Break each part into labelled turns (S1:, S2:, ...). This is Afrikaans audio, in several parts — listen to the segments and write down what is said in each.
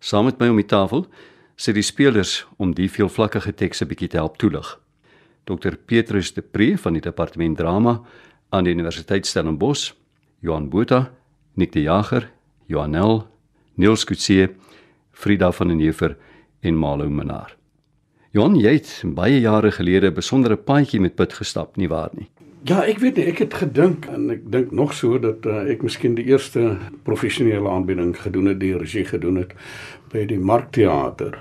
S1: Saam met my om die tafel sit die spelers om die veelvlakkige tekste bietjie te help toelig. Dr Petrus de Pre van die departement drama aan die Universiteit Stellenbosch, Johan Botha, Nick de Jager, Johanel, Niels Kutse, Frida van den Heever en Malo Menaar. Johan, jy het baie jare gelede 'n besondere paadjie met Pit gestap, nie waar nie?
S2: Ja, ek weet nie, ek het gedink en ek dink nog so dat uh, ek miskien die eerste professionele aanbieding gedoen het, die regie gedoen het by die Markteater.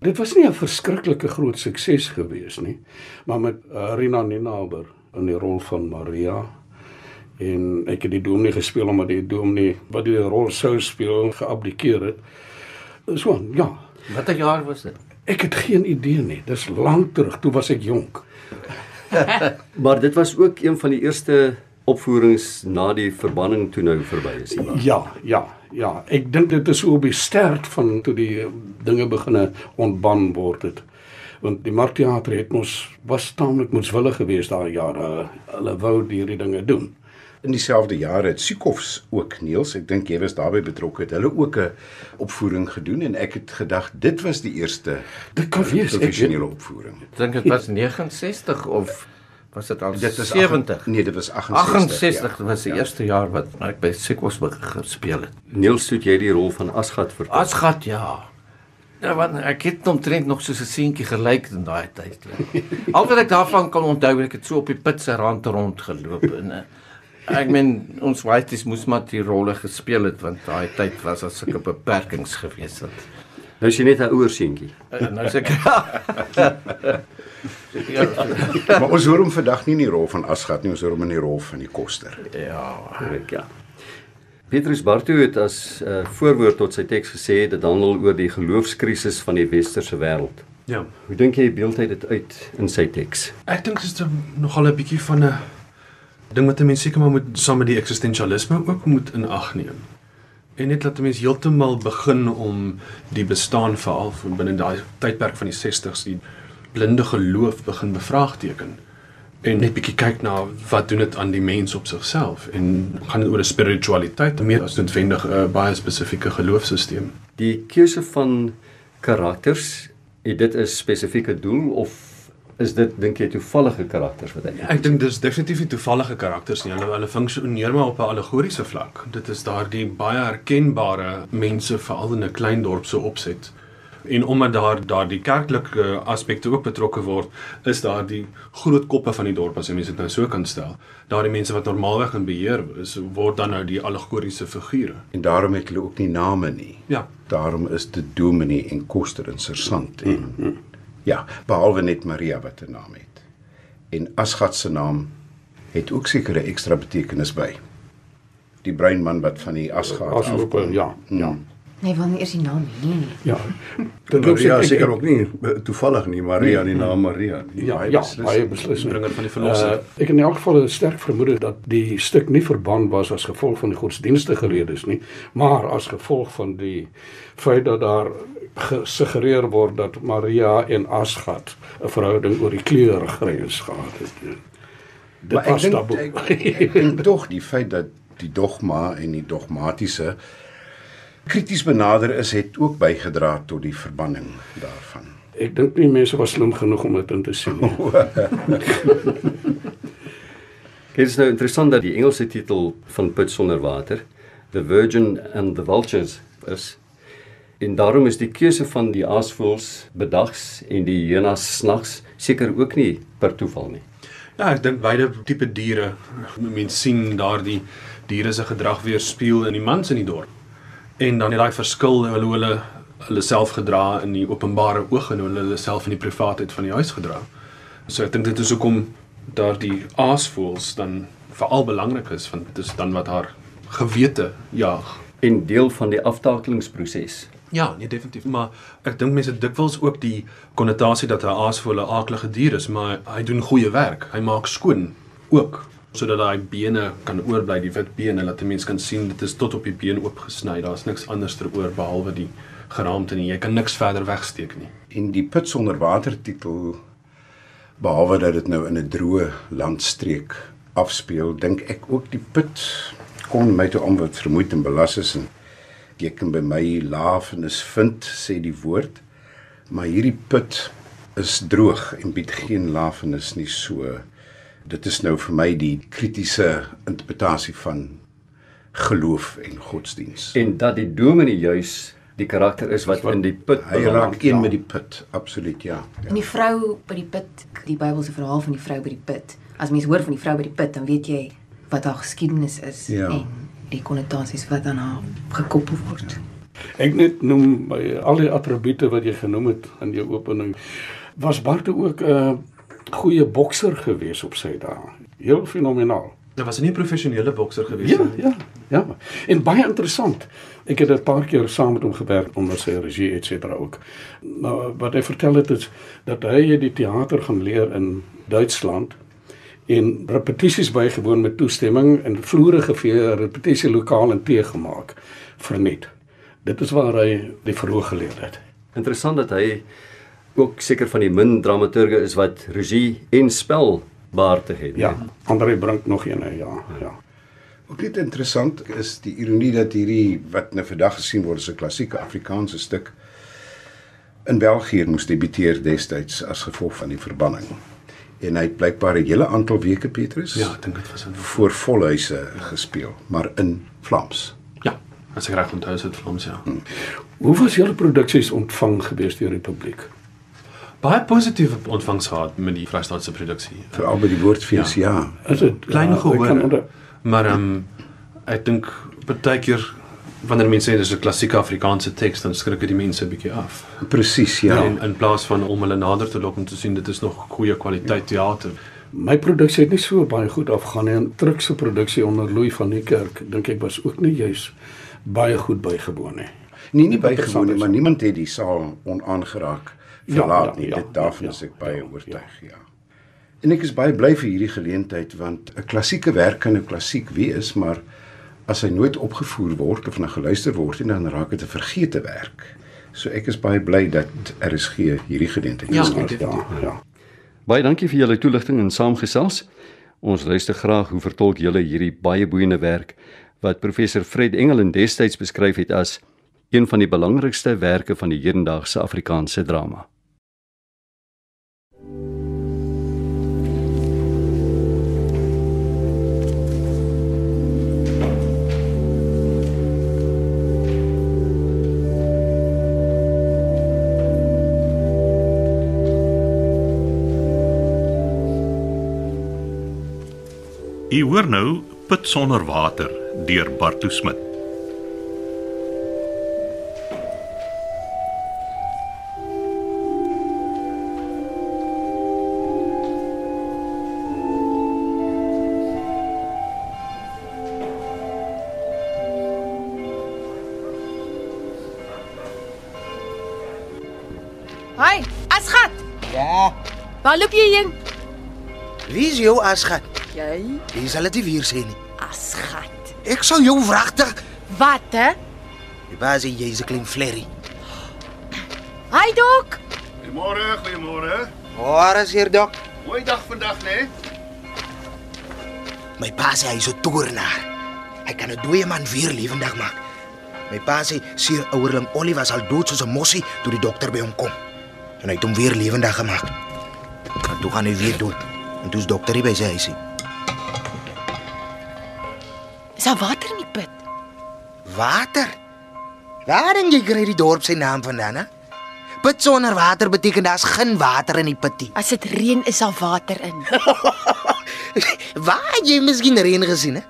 S2: Dit was nie 'n verskriklike groot sukses gewees nie, maar met uh, Rina Ninaber in die rol van Maria en ek het die dominee gespeel omdat die dominee wat die rol sou speel geabdikeer het. So, ja,
S3: Watter jaar was dit?
S2: ek het geen idee nie. Dis lank terug, toe was ek jonk.
S1: Maar dit was ook een van die eerste opvoerings na die verbanning toe nou verby is. nie waar?
S2: Ja, ja, ja. Ek dink dit is op die sterk van toe die eh, dinge begine ontban word het. Want die markteater het ons was taamlik moeswillig geweest daai jare. Hulle wou hierdie dinge doen.
S4: In dieselfde jare het Siekofs ook Niels, ek dink jy was daarbey betrokke, het hulle ook 'n opvoering gedoen en ek het gedag dit was die eerste
S2: Dit kan wees. Ek weet,
S4: professionele opvoering.
S3: Ek dink dit was 69 of was dit al
S4: Dit is
S3: 70?
S4: agt- Nee, dit was 68.
S3: 68
S4: ja.
S3: was die eerste jaar wat ek by Sekos gespeel het.
S1: Niels het jy die rol van Asgat vervul.
S3: Asgat ja. Ja, want ek het omtrent nog soos 'n seentjie gelyk in daai tyd. ja. Al wat ek daarvan kan onthou, ek het so op die put se rand rondgeloop en eh, ek meen ons whiteys moes maar die rolle gespeel het want daai tyd was daar sulke beperkings gewees het.
S1: Nou is jy net 'n ouer seentjie.
S3: Eh, Nou seker. ja,
S4: Maar ons hoor hom vandag nie in die rol van Asgat nie, ons hoor hom in die rol van die koster.
S3: ja.
S1: Korrek, ja. Petrus Bartu het as uh, voorwoord tot sy teks gesê dit handel oor die geloofskrisis van die westerse wêreld.
S5: Ja.
S1: Hoe dink jy beeld hy dit uit in sy teks?
S5: Ek dink dit is nogal 'n bietjie van 'n ding wat 'n mens seker maar moet saam met die eksistensialisme ook moet in ag neem. En net laat 'n mens heeltemal begin om die bestaan veral van binne daai tydperk van die 60s die blinde geloof begin bevraagteken. En net bietjie kyk na wat doen dit aan die mens op sigself en gaan dit oor 'n spiritualiteit meer as noodwendig 'n baie spesifieke geloofsisteem.
S1: Die keuse van karakters, het dit 'n spesifieke doel of is dit dink jy toevallige karakters wat hy?
S5: Ek dink dis definitief nie toevallige karakters nie. Hulle hulle funksioneer maar op 'n allegoriese vlak. Dit is daardie baie herkenbare mense veral in 'n klein dorp se opset. En omdat daar daardie kerklike aspekte ook betrokke word, is daar die groot koppe van die dorp as jy mense dit nou so kan stel. Daardie mense wat normaalweg in beheer is, word dan nou die allegoriese figure.
S4: En daarom het hulle ook nie name nie.
S5: Ja.
S4: Daarom is dit dominee en koster en sersant
S2: Mm,
S4: en ja, behalwe net Maria wat 'n naam het. En Asgat se naam het ook sekere ekstra betekenis by. Die breinman wat van die Mm. Asgat
S2: as
S4: af.
S2: ook ja, ja.
S6: Nee, wil nie eers die naam hê nie.
S2: Ja. Dit loop
S7: Maria
S2: ek-
S7: seker ook nie eh, toevallig nie Maria die naam Maria nie.
S2: Ja,
S4: Baie
S2: ja,
S4: beslis.
S2: baie beslis.
S5: Bringer van die verlosser.
S2: Uh, ek het in elk geval 'n sterk vermoede dat die stuk nie verband was as gevolg van die godsdienstige redes nie, maar as gevolg van die feit dat daar gesuggereer word dat Maria en Asgat 'n verhouding oor die kleurgrens gehad het. Dit
S4: Maar ek
S2: was
S4: dink
S2: taboe.
S4: ek, ek, ek dink tog die feit dat die dogma en die dogmatiese krities benader is het ook bygedra tot die verbanning daarvan.
S2: Ek dink nie mense was slim genoeg om dit in te sien nie.
S1: Dit is nou interessant dat die Engelse titel van Put sonder water, The Virgin and the Vultures is. En daarom is die keuse van die aasvoëls bedags en die hyenas snags seker ook nie per toeval nie.
S5: Ja, ek dink beide tipe diere. Mense sien daardie diere se gedrag weerspieël in die mans in die dorp. En dan het daai verskil hoe hulle hulle self gedra in die openbare oog en hoe hulle hulle self in die privaatheid van die huis gedra. So ek dink dit is hoekom daardie aasvoëls dan veral belangrik is want dit is dan wat haar gewete jaag.
S1: En deel van die aftakelingsproses.
S5: Ja, nee definitief, maar ek dink mense het dikwels ook die konnotasie dat 'n aas vir hulle aaklige dier is, maar hy doen goeie werk. Hy maak skoon ook sodat daai bene kan oorbly, die wit bene, dat 'n mens kan sien dit is tot op die been oopgesny. Daar's niks anders teroor behalwe die geraamte nie. Jy kan niks verder wegsteek nie.
S4: En die put sonder water titel behalwe dat dit nou in 'n droë landstreek afspeel, dink ek ook die put kon my toe aan wat vermoeid en belas is en Jy kan by my laafenis vind, sê die woord, maar hierdie put is droog en bied geen laafenis nie so. Dit is nou vir my die kritiese interpretasie van geloof en godsdiens.
S1: en dat die dominee juis die karakter is wat in die put
S4: Hy raak een met die put, absoluut ja.
S6: En die vrou by die put, die Bybelse verhaal van die vrou by die put. As mens hoor van die vrou by die put, dan weet jy wat haar geskiedenis is
S4: Ja.
S6: en die konnotasies wat aan haar gekoppel word.
S7: Ja.
S2: Ek net noem by al die attribute wat jy genoem het in jou opening was Bart ook 'n goeie bokser gewees op sy dae. Heel fenomenaal.
S5: Hy was nie 'n professionele bokser gewees
S2: Ja,
S5: nie.
S2: ja, ja. En baie interessant. Ek het 'n paar keer saam met hom gewerk onder sy regie et cetera ook. Maar wat hy vertel het is dat hy het die teater gaan leer in Duitsland en repetisies bygewoon met toestemming en vloere gevee, repetisielokaal en tee gemaak verniet. Dit is waar hy die verhoog geleer het.
S1: Interessant dat hy ook seker van die min dramaturge is wat regie en spel behartig het.
S2: Ja, Andre Brink nog een, hè, ja, ja.
S4: Ook net interessant is die ironie dat hierdie wat nou vandag gesien word as 'n klassieke Afrikaanse stuk in België moes debuteer destyds as gevolg van die verbanning. En hy het blykbaar 'n hele aantal weke Petrus
S5: Ja, ek dink dit was in
S4: voor volhuise gespeel, maar in Vlaams. Hm.
S5: Ja, as ek reg onthou is dit Vlaams ja.
S2: Hoe was julle produksies ontvang gewees deur die publiek?
S5: Baie positiewe ontvangs gehad met die Vrystaatse produksie.
S4: Veral by die woordfees, ja. ja.
S2: Is dit
S5: Klein
S2: ja,
S5: ja,
S2: ek kan onder-
S5: gehoor. Maar ehm um, ek dink baie keer wanneer mense sê dis 'n klassieke Afrikaanse teks, dan skrik dit die mense 'n bietjie af.
S4: Presies, ja.
S5: En in plaas van om hulle nader te lok om te sien dit is nog goeie kwaliteit teater.
S2: My produksie het nie so baie goed afgaan nie. En Truk se produksie onder Louis van die Kerk, dink ek was ook nie juis baie goed bygewoon nie.
S4: Nee, nie bygewoon nie, maar niemand het die saal onaangeraak verlaat ja, ja, nie. Ja, Dit daarvan ja, is ek baie ja, oortuig, ja. En ek is baie bly vir hierdie geleentheid want 'n klassieke werk kan 'n klassiek wees, maar as hy nooit opgevoer word of na geluister word nie, dan raak dit 'n vergete werk. So ek is baie bly dat RSG hierdie geleentheid
S8: Ja,
S4: geskep
S8: definitief.
S2: Ja, ja.
S1: Baie dankie vir julle toelichting en saamgesels. Ons luister graag hoe vertolk julle hierdie baie boeiende werk wat professor Fred Engelen destyds beskryf het as een van die belangrikste werke van die hedendaagse Afrikaanse drama.
S9: U hoor nou Put sonder water deur Bartu Smit.
S7: Hi, Asgat.
S10: Ja,
S7: Waar loop jy heen?
S10: wie is jou asgat?
S7: Jy,
S10: Jy sal dit nie weer sê nie.
S7: Asgat.
S10: Ek sal jou wragtig.
S7: Wat hè?
S10: Die baas sê jy's 'n klein flerry.
S7: Hi dok.
S9: Goeiemôre, goeiemôre.
S10: Hoor as hier dok.
S9: Mooi dag vandag, né?
S10: My pa sê hy's 'n toornaar. Hy kan 'n dooie man weer lewendig maak. My pa sê seer ouerling Ollie was al dood soos 'n mossie toe die dokter by hom kom. En hy het hom weer lewendig gemaak. Maar toe gaan hy weer dood. En toe's dokter hier by sy huisie.
S6: Is daar water in die put?
S10: Water. Waar dink jy kry die dorp sy naam vandaan, hè? Put sonder water beteken daar's geen water in die putie.
S7: As dit reën is daar water in.
S10: Waar het jy miskien reën gesien hè?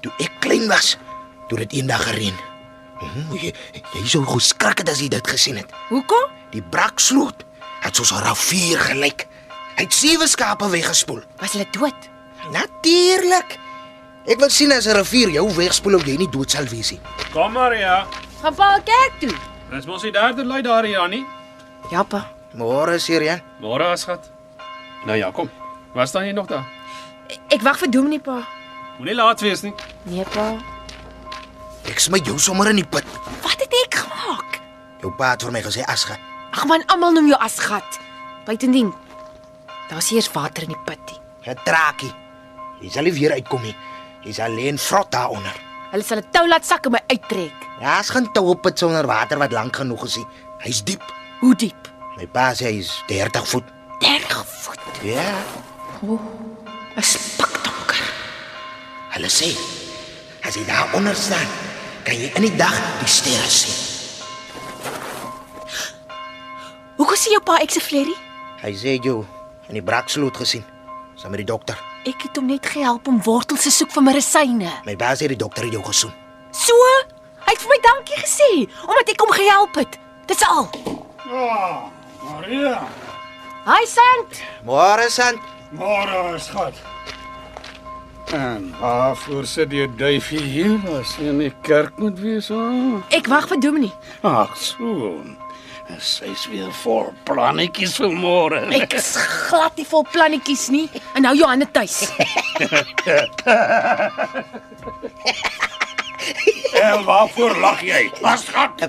S10: Toe ek klein was, toe dit eendag gereën. Hm, jy jy sou geskrik het as jy dit gesien het.
S7: Hoekom?
S10: Die braksloot het soos 'n rivier gelyk. Hy het sewe skape weggespoel.
S7: Was hulle dood?
S10: Natuurlik. Ek wil sien as 'n rivier jou wegspoel of jy nie dood sal wees nie.
S11: Kom Maria,
S7: Gaan pa kerk toe.
S11: dis mos die derde lui daar hier aan nie.
S7: Ja pa.
S10: Môre, Sirian.
S11: Môre as gat. Nou ja, kom. Was dan jy nog daar?
S7: Ek wag vir Dominee pa.
S11: Moenie laat wees nie.
S7: Nee pa.
S10: Ek smy jou sommer in die put.
S7: Wat het ek gemaak?
S10: Jou pa het vir my gesê asga.
S7: Ag man, almal noem jou Asgat. Buitendien. Daar's eers water in die put. nie.
S10: 'n Trakie. Jy sal nie weer uitkom nie. Jy sal alleen vrot daaronder.
S6: Hulle sal 'n tou laat sak en my uittrek.
S10: Daar's geen tou op put sonder water wat lank genoeg is nie. Hy's diep.
S6: Hoe diep?
S10: My pa sê hy's 30 voet.
S6: 30 voet.
S10: Ja.
S6: O, oh, is pikdonker.
S10: Hulle sê as jy daar onder staan, kan jy in die dag die sterre sien.
S6: Hoekom sien jou pa ek se flerry?
S10: Hy sê jy in die braksloot gesien. Saam met die dokter.
S6: Ek het hom net gehelp om wortels te soek vir medisyne.
S10: My pa sê die dokter het jou gesoen.
S6: So, hy het vir my dankie gesê omdat ek hom gehelp het. Dis al.
S2: Ja, Maria.
S6: Hi Sant.
S10: Môre Sant.
S2: Môre skat. En waarvoor sit jy duifie hier as jy in die kerk moet wees? Oh?
S6: Ek wag vir Dominee.
S2: Ag, so. Sy's weer vol plannetjies vir môre.
S6: Ek is glad nie vol plannetjies nie. En nou Johanne tuis.
S2: El, waarvoor lag jy? Was gat.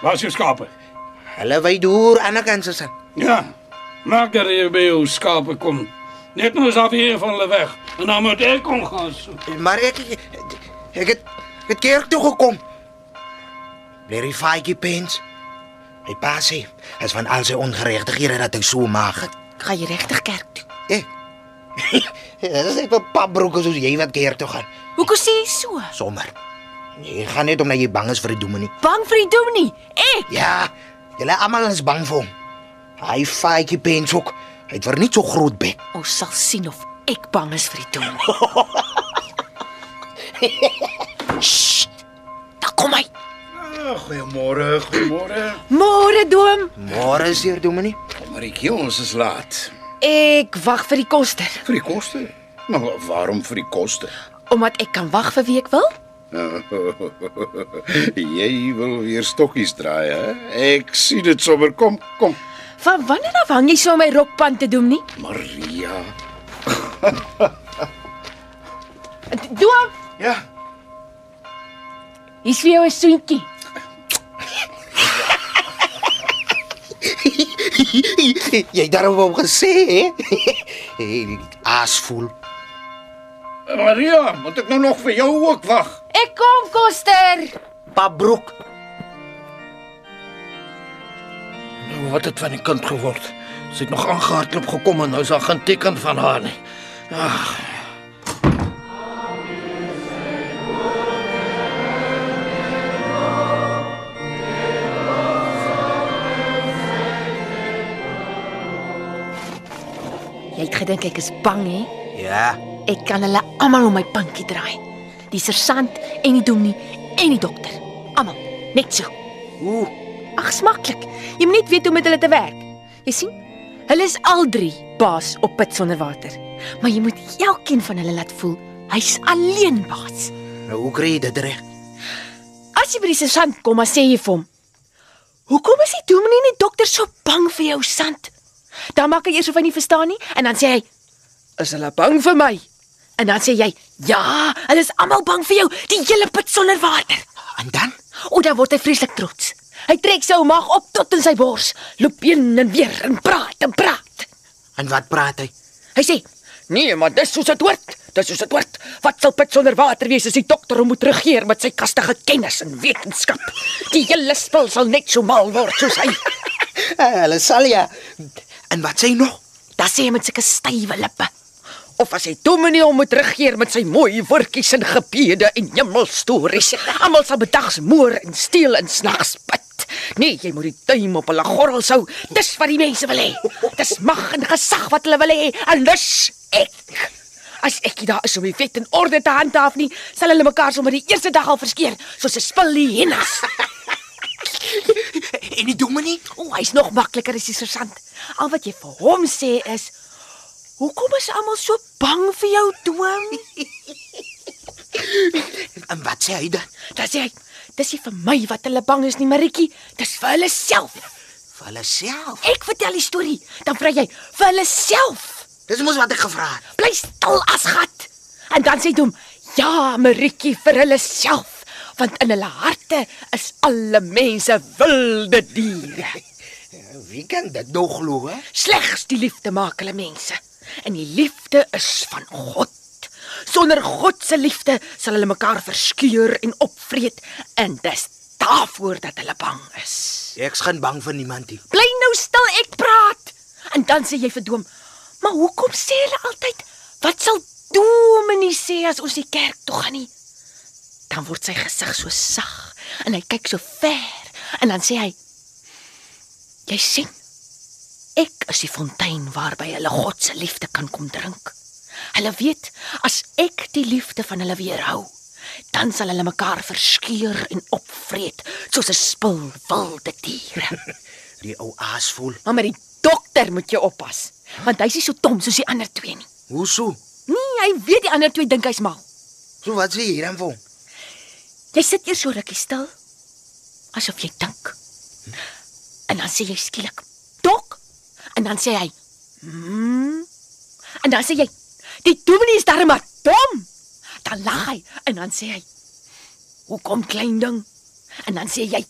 S2: Was jou skape?
S10: Hulle wy deur aan die kant se se.
S2: Ja. Maak dat jy by jou skape kom. Net nou is af hier van hulle weg. En dan moet ek kom gaan soek.
S10: Maar ek ek het ek het kerk toe gekom. Blerry faatjie pens. My pa sê, as van al sy ongeregtighede dat hy so maag het.
S6: Gaan jy regtig kerk toe?
S10: Ek. Dis net 'n papbroek soos jy wat kerk toe gaan.
S6: Hoekom sê jy so?
S10: Sommer. Jy gaan net omdat jy bang is vir die dominee.
S6: Bang vir die dominee? Ek.
S10: Ja. Julle almal is bang vir hom. Hy faatjie pens ook. Hy het vir net so groot bek.
S6: Ons sal sien of ek bang is vir die dom. Sst. Daar kom hy.
S2: Goeiemôre, goeiemôre.
S6: Môre dom.
S10: Môre is hier dominee.
S12: Marietjie, ons is laat.
S6: Ek wag vir die koster.
S12: Vir die koster? Maar waarom vir die koster?
S6: Omdat ek kan wag vir wie ek wil.
S12: jy wil weer stokkies draai, hè? Ek sien dit sommer. Kom, kom.
S6: Van wanneer af hang jy so my rokpand te doen nie?
S12: Maria.
S6: Doem.
S12: Ja.
S6: Hier's vir jou 'n soentjie.
S10: jy het daarop wou gesê, hè? Asvol.
S2: Maria, moet ek nou nog vir jou ook wag?
S6: Ek kom, koster.
S10: Pabroek.
S3: Nou wat het van die kind geword? Sy het nog aangehardloop gekom en nou is daar geen teken van haar nie. Ag.
S6: Jy het gedink ek is bang hè?
S10: Ja.
S6: Ek kan hulle almal om my pankie draai. Die sergeant en die dominee en die dokter. Almal, net so.
S10: Ooh,
S6: Ag, smaklik. Jy moet net weet hoe om met hulle te werk. Jy sien? Hulle is al drie baas op put sonder water. Maar jy moet elkeen van hulle laat voel hy's alleen baas.
S10: nou hoe kry jy dit reg?
S6: As jy by die sergeant kom, dan sê jy vir hom: "Hoekom is die dominee en die dokter so bang vir jou, Sant?" Dan maak hy eers of hy nie verstaan nie en dan sê hy: "Is hulle bang vir my?" En dan sê jy: "Ja, hulle is almal bang vir jou, die hele put sonder water."
S10: En dan?
S6: O, dan word hy vreeslik trots. Hy trek sy maag op tot in sy bors, loop heen en weer en praat en praat.
S10: En wat praat hy?
S6: Hy sê: "Nee, maar dis soos dit hoort. Dis soos dit hoort. Wat sal put sonder water wees as die dokter hom moet regeer met sy kastige kennis en wetenskap? Die hele spul sal net so mal word soos hy."
S10: Hulle sal ja. En wat sê hy nog?
S6: Dan sê hy met sulke stywe lippe. Of as hy dominee hom moet regeer met sy mooi woordjies en gebede en hemelstories. Almal sal bedags moer en steel en snags bid. Nee, jy moet die duim op hulle gorrels hou. Dis wat die mense wil hê. Dis mag en gesag wat hulle wil hê. En dis ek. As ek nie daar is om die wet en orde te handhaaf nie, sal hulle mekaar sommer die eerste dag al verskeer soos 'n spil die hennas.
S10: En die dominee?
S6: O, hy's nog makliker as die sergeant. Al wat jy vir hom sê is: "Hoekom is almal so bang vir jou, Doom?"
S10: En wat sê hy dan?
S6: Dan sê hy: "Dis nie vir my wat hulle bang is nie, Maritjie, dis vir hulle self."
S10: Vir hulle self.
S6: Ek vertel die storie, dan vra jy: "Vir hulle self."
S10: Dis mos wat ek gevra het.
S6: Bly stil as gat. En dan sê Doom: "Ja, Maritjie, vir hulle self." want in hulle harte is alle mense wilde diere.
S10: Wie kan dit nog glo? hè?
S6: Slegs die liefde maak hulle mense. En die liefde is van God. Sonder God se liefde sal hulle mekaar verskeur en opvreet en dis daarvoor dat hulle bang is.
S10: Ek's geen bang vir niemand nie.
S6: Bly nou stil, ek praat. En dan sê jy vir Doom, "Maar hoekom sê hulle altyd wat sal Dominee sê as ons die kerk toe gaan nie?" Dan word sy gesig so sag en hy kyk so ver en dan sê hy, "Jy sien, ek is die fontein waarby hulle God se liefde kan kom drink. Hulle weet as ek die liefde van hulle weerhou, dan sal hulle mekaar verskeur en opvreet soos 'n spul wilde diere."
S10: Die ou aasvoel.
S6: Maar met die dokter moet jy oppas, want hy's nie so dom soos die ander twee nie.
S10: Hoe so?
S6: Nee, hy weet die ander twee dink hy's mal.
S10: So wat sê jy dan vir hom?
S6: Jy sit eers so rukkie stil asof jy dink. En dan sê jy skielik: "Dok." En dan sê hy: "Hmm." En dan sê jy: "Die dominee is darem maar dom." Dan lag hy en dan sê hy: "Hoekom klein ding?" En dan sê jy: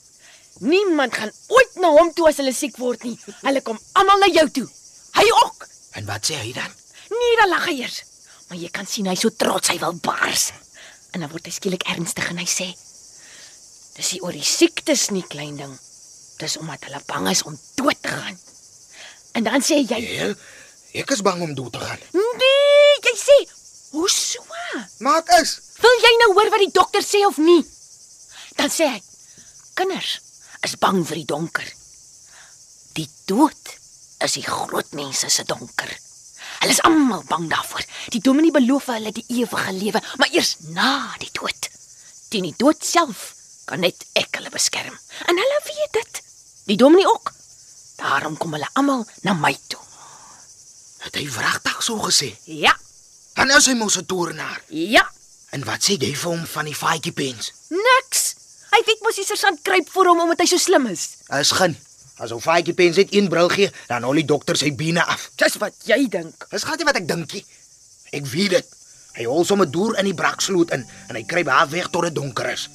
S6: "Niemand gaan ooit na hom toe as hulle siek word nie. Hulle kom almal na jou toe. Hy ook."
S10: En wat sê hy dan?
S6: Nee, dan lag hy eers. Maar jy kan sien hy's so trots hy wil bars. En dan word hy skielik ernstig en hy sê: Dis nie oor die siektes nie, klein ding. Dis omdat hulle bang is om dood te gaan. En dan sê jy,
S10: "Heel, Nee, ek is bang om dood te gaan."
S6: "Nee," jy sê, "hoe so?"
S10: Maak is.
S6: Wil jy nou hoor wat die dokter sê of nie? Dan sê hy, "Kinders is bang vir die donker. Die dood is die groot mense se donker." Hulle is almal bang daarvoor. Die dominee beloof vir hulle die ewige lewe, maar eers na die dood. Teen die dood self kan net ek hulle beskerm. En hulle weet dit. Die dominee ook. Daarom kom hulle almal na my toe.
S10: Het hy wragtig so gesê?
S6: Ja,
S10: Dan is hy mos 'n toornaar.
S6: ja,
S10: En wat sê jy vir hom van die faadjie pens?
S6: niks. Hy weet mos die sergeant kruip vir hom omdat hy so slim is.
S10: Is geen. As ou faadjie pens net een bril gee, dan hol die dokter sy bene af.
S6: Dis wat jy dink.
S10: Dis gaan nie wat ek dinkie. Ek weet dit. Hy hol sommer deur in die braksloot in en hy kruip haar weg tot dit donker is.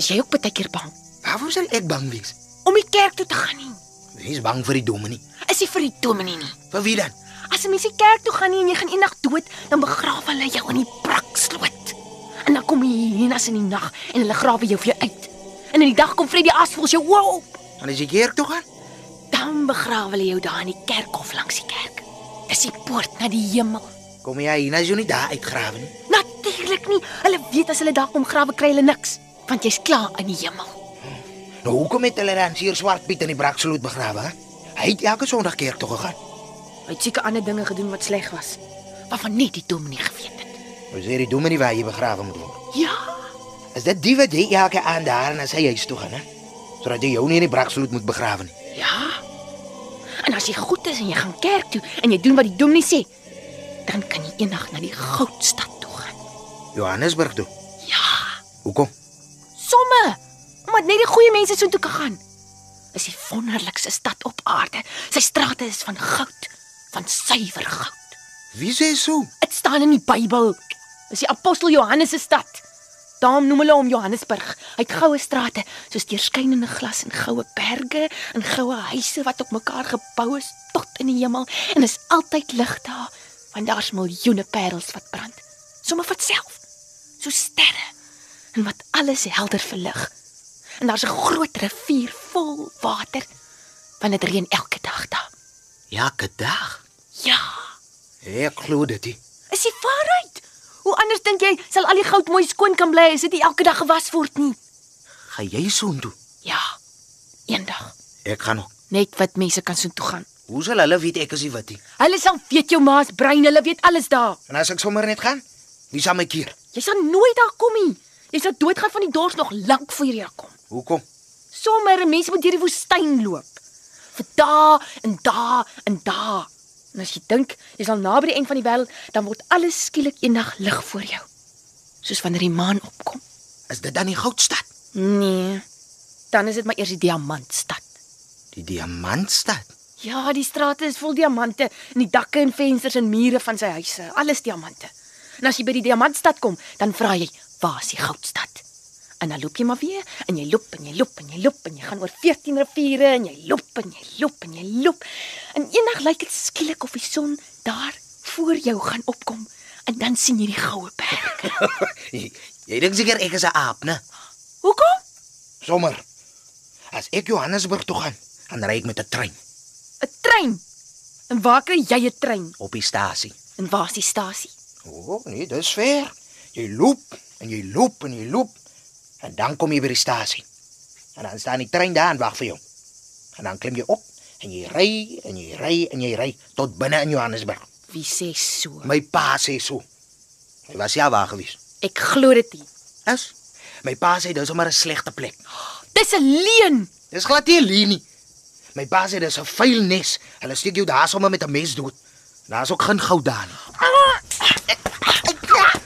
S6: Is jy ook baie keer bang
S10: Waarvoor sal ek bang wees?
S6: om die kerk toe te gaan nie?
S10: Hy's bang vir die dominee.
S6: Is jy vir die dominee nie?
S10: Vir wie dan?
S6: As 'n mens die kerk toe gaan nie en jy gaan eendag dood, dan begrawe hulle jou in die braksloot. En dan kom die hyenas in die nag en hulle grawe jou vir jou uit. En in die dag kom Fred die asvoels jou oë op.
S10: En as jy kerk toe gaan?
S6: Dan begrawe hulle jou daar in die kerkhof langs die kerk. Dis die poort na die hemel.
S10: Kom jy hier, nou is jy nie daar uitgrawe nie.
S6: Natuurlik nie. Hulle weet as hulle daar kom grawe kry hulle niks, want jy's klaar in die hemel.
S10: Nou hoekom het hulle dan hier swart Piet in die braksloot begrawe? hè? Hy het elke Sondag kerk toe gegaan.
S6: Hy het seker ander dinge gedoen wat sleg was, waarvan net die dominee geweet het.
S10: Ons sê die dominee waar jy begrawe moet word.
S6: Ja,
S10: Is dit die wat jy elke aand daar na sy huis toe gaan, hè? Sodat jy jou nie in die braksloot moet begrawe nie.
S6: ja. En as jy goed is en jy gaan kerk toe en jy doen wat die dominee sê, dan kan jy eendag na die goudstad toe gaan.
S10: Johannesburg toe.
S6: Ja,
S10: Hoekom?
S6: somme. Omdat net die goeie mense soontoe kan gaan. Is die wonderlikste stad op aarde. Sy strate is van goud, van suiwer goud.
S10: Wie sê so?
S6: Dit staan in die Bybel. Dis die apostel Johannes se stad. Daarom noem hulle hom Johannesburg. Hy het goue strate, soos deurskynende glas en goue berge en goue huise wat op mekaar gebou is tot in die hemel en is altyd lig daar, want daar's miljoene parels wat brand. Sommige van self, so sterre en wat alles helder verlig. En daar's 'n groot rivier vol water, want dit reën elke dag daar.
S10: Elke dag.
S6: Ja.
S10: Ek glo dit. nie.
S6: Is die waarheid? Hoe anders dink jy sal al die goud mooi skoon kan bly as dit nie elke dag gewas word nie?
S10: Gaan jy soontoe?
S6: Ja, eendag.
S10: Ek gaan ook.
S6: Net wat mense kan soontoe gaan.
S10: Hoe sal hulle weet ek is die witty?
S6: Hulle sal weet jou ma's brein, hulle weet alles daar.
S10: En as ek sommer net gaan, wie sal my keer?
S6: Jy sal nooit daar kom nie. Jy sal doodgaan van die dors nog lank voor jy daar kom.
S10: Hoekom?
S6: Sommige mense moet deur die woestyn loop. Vir dae en dae en dae. En as jy dink jy sal naby die einde van die wêreld, dan word alles skielik eendag lig voor jou. Soos wanneer die maan opkom.
S10: Is dit dan die goudstad?
S6: Nee. Dan is dit maar eers die diamantstad.
S10: Die diamantstad?
S6: Ja, die strate is vol diamante en die dakke en vensters en mure van sy huise, alles diamante. En as jy by die diamantstad kom, dan vra jy, "Waar is die goudstad?" En dan loop jy maar weer en jy loop en jy loop en jy loop en jy gaan oor 14 riviere en jy loop en jy loop en jy loop. En eendag lyk dit skielik of die son daar voor jou gaan opkom en dan sien jy die goue perd.
S10: jy jy dink seker ek is 'n aap, né?
S6: Hoekom?
S10: Sommer. As ek Johannesburg toe gaan, dan ry ek met 'n trein
S6: 'n Trein. En waar kry jy 'n trein?
S10: op die stasie.
S6: En waar is die stasie?
S10: O, oh, nee, dis ver. Jy loop en jy loop en jy loop en dan kom jy by die stasie. En dan staan die trein daar en wag vir jou. En dan klim jy op en jy ry en jy ry en jy ry tot binne in Johannesburg.
S6: Wie sê so?
S10: My pa sê so. Hy was ja waar gewees.
S6: Ek glo dit nie.
S10: As my pa sê dis sommer 'n slegte plek.
S6: Dis 'n leuen.
S10: Dis glad nie 'n leuen nie. My pa sê dis 'n vuil nes. Hulle steek jou daar sommer met 'n mes dood. Daar's ook geen goud daar nie.
S6: Ah!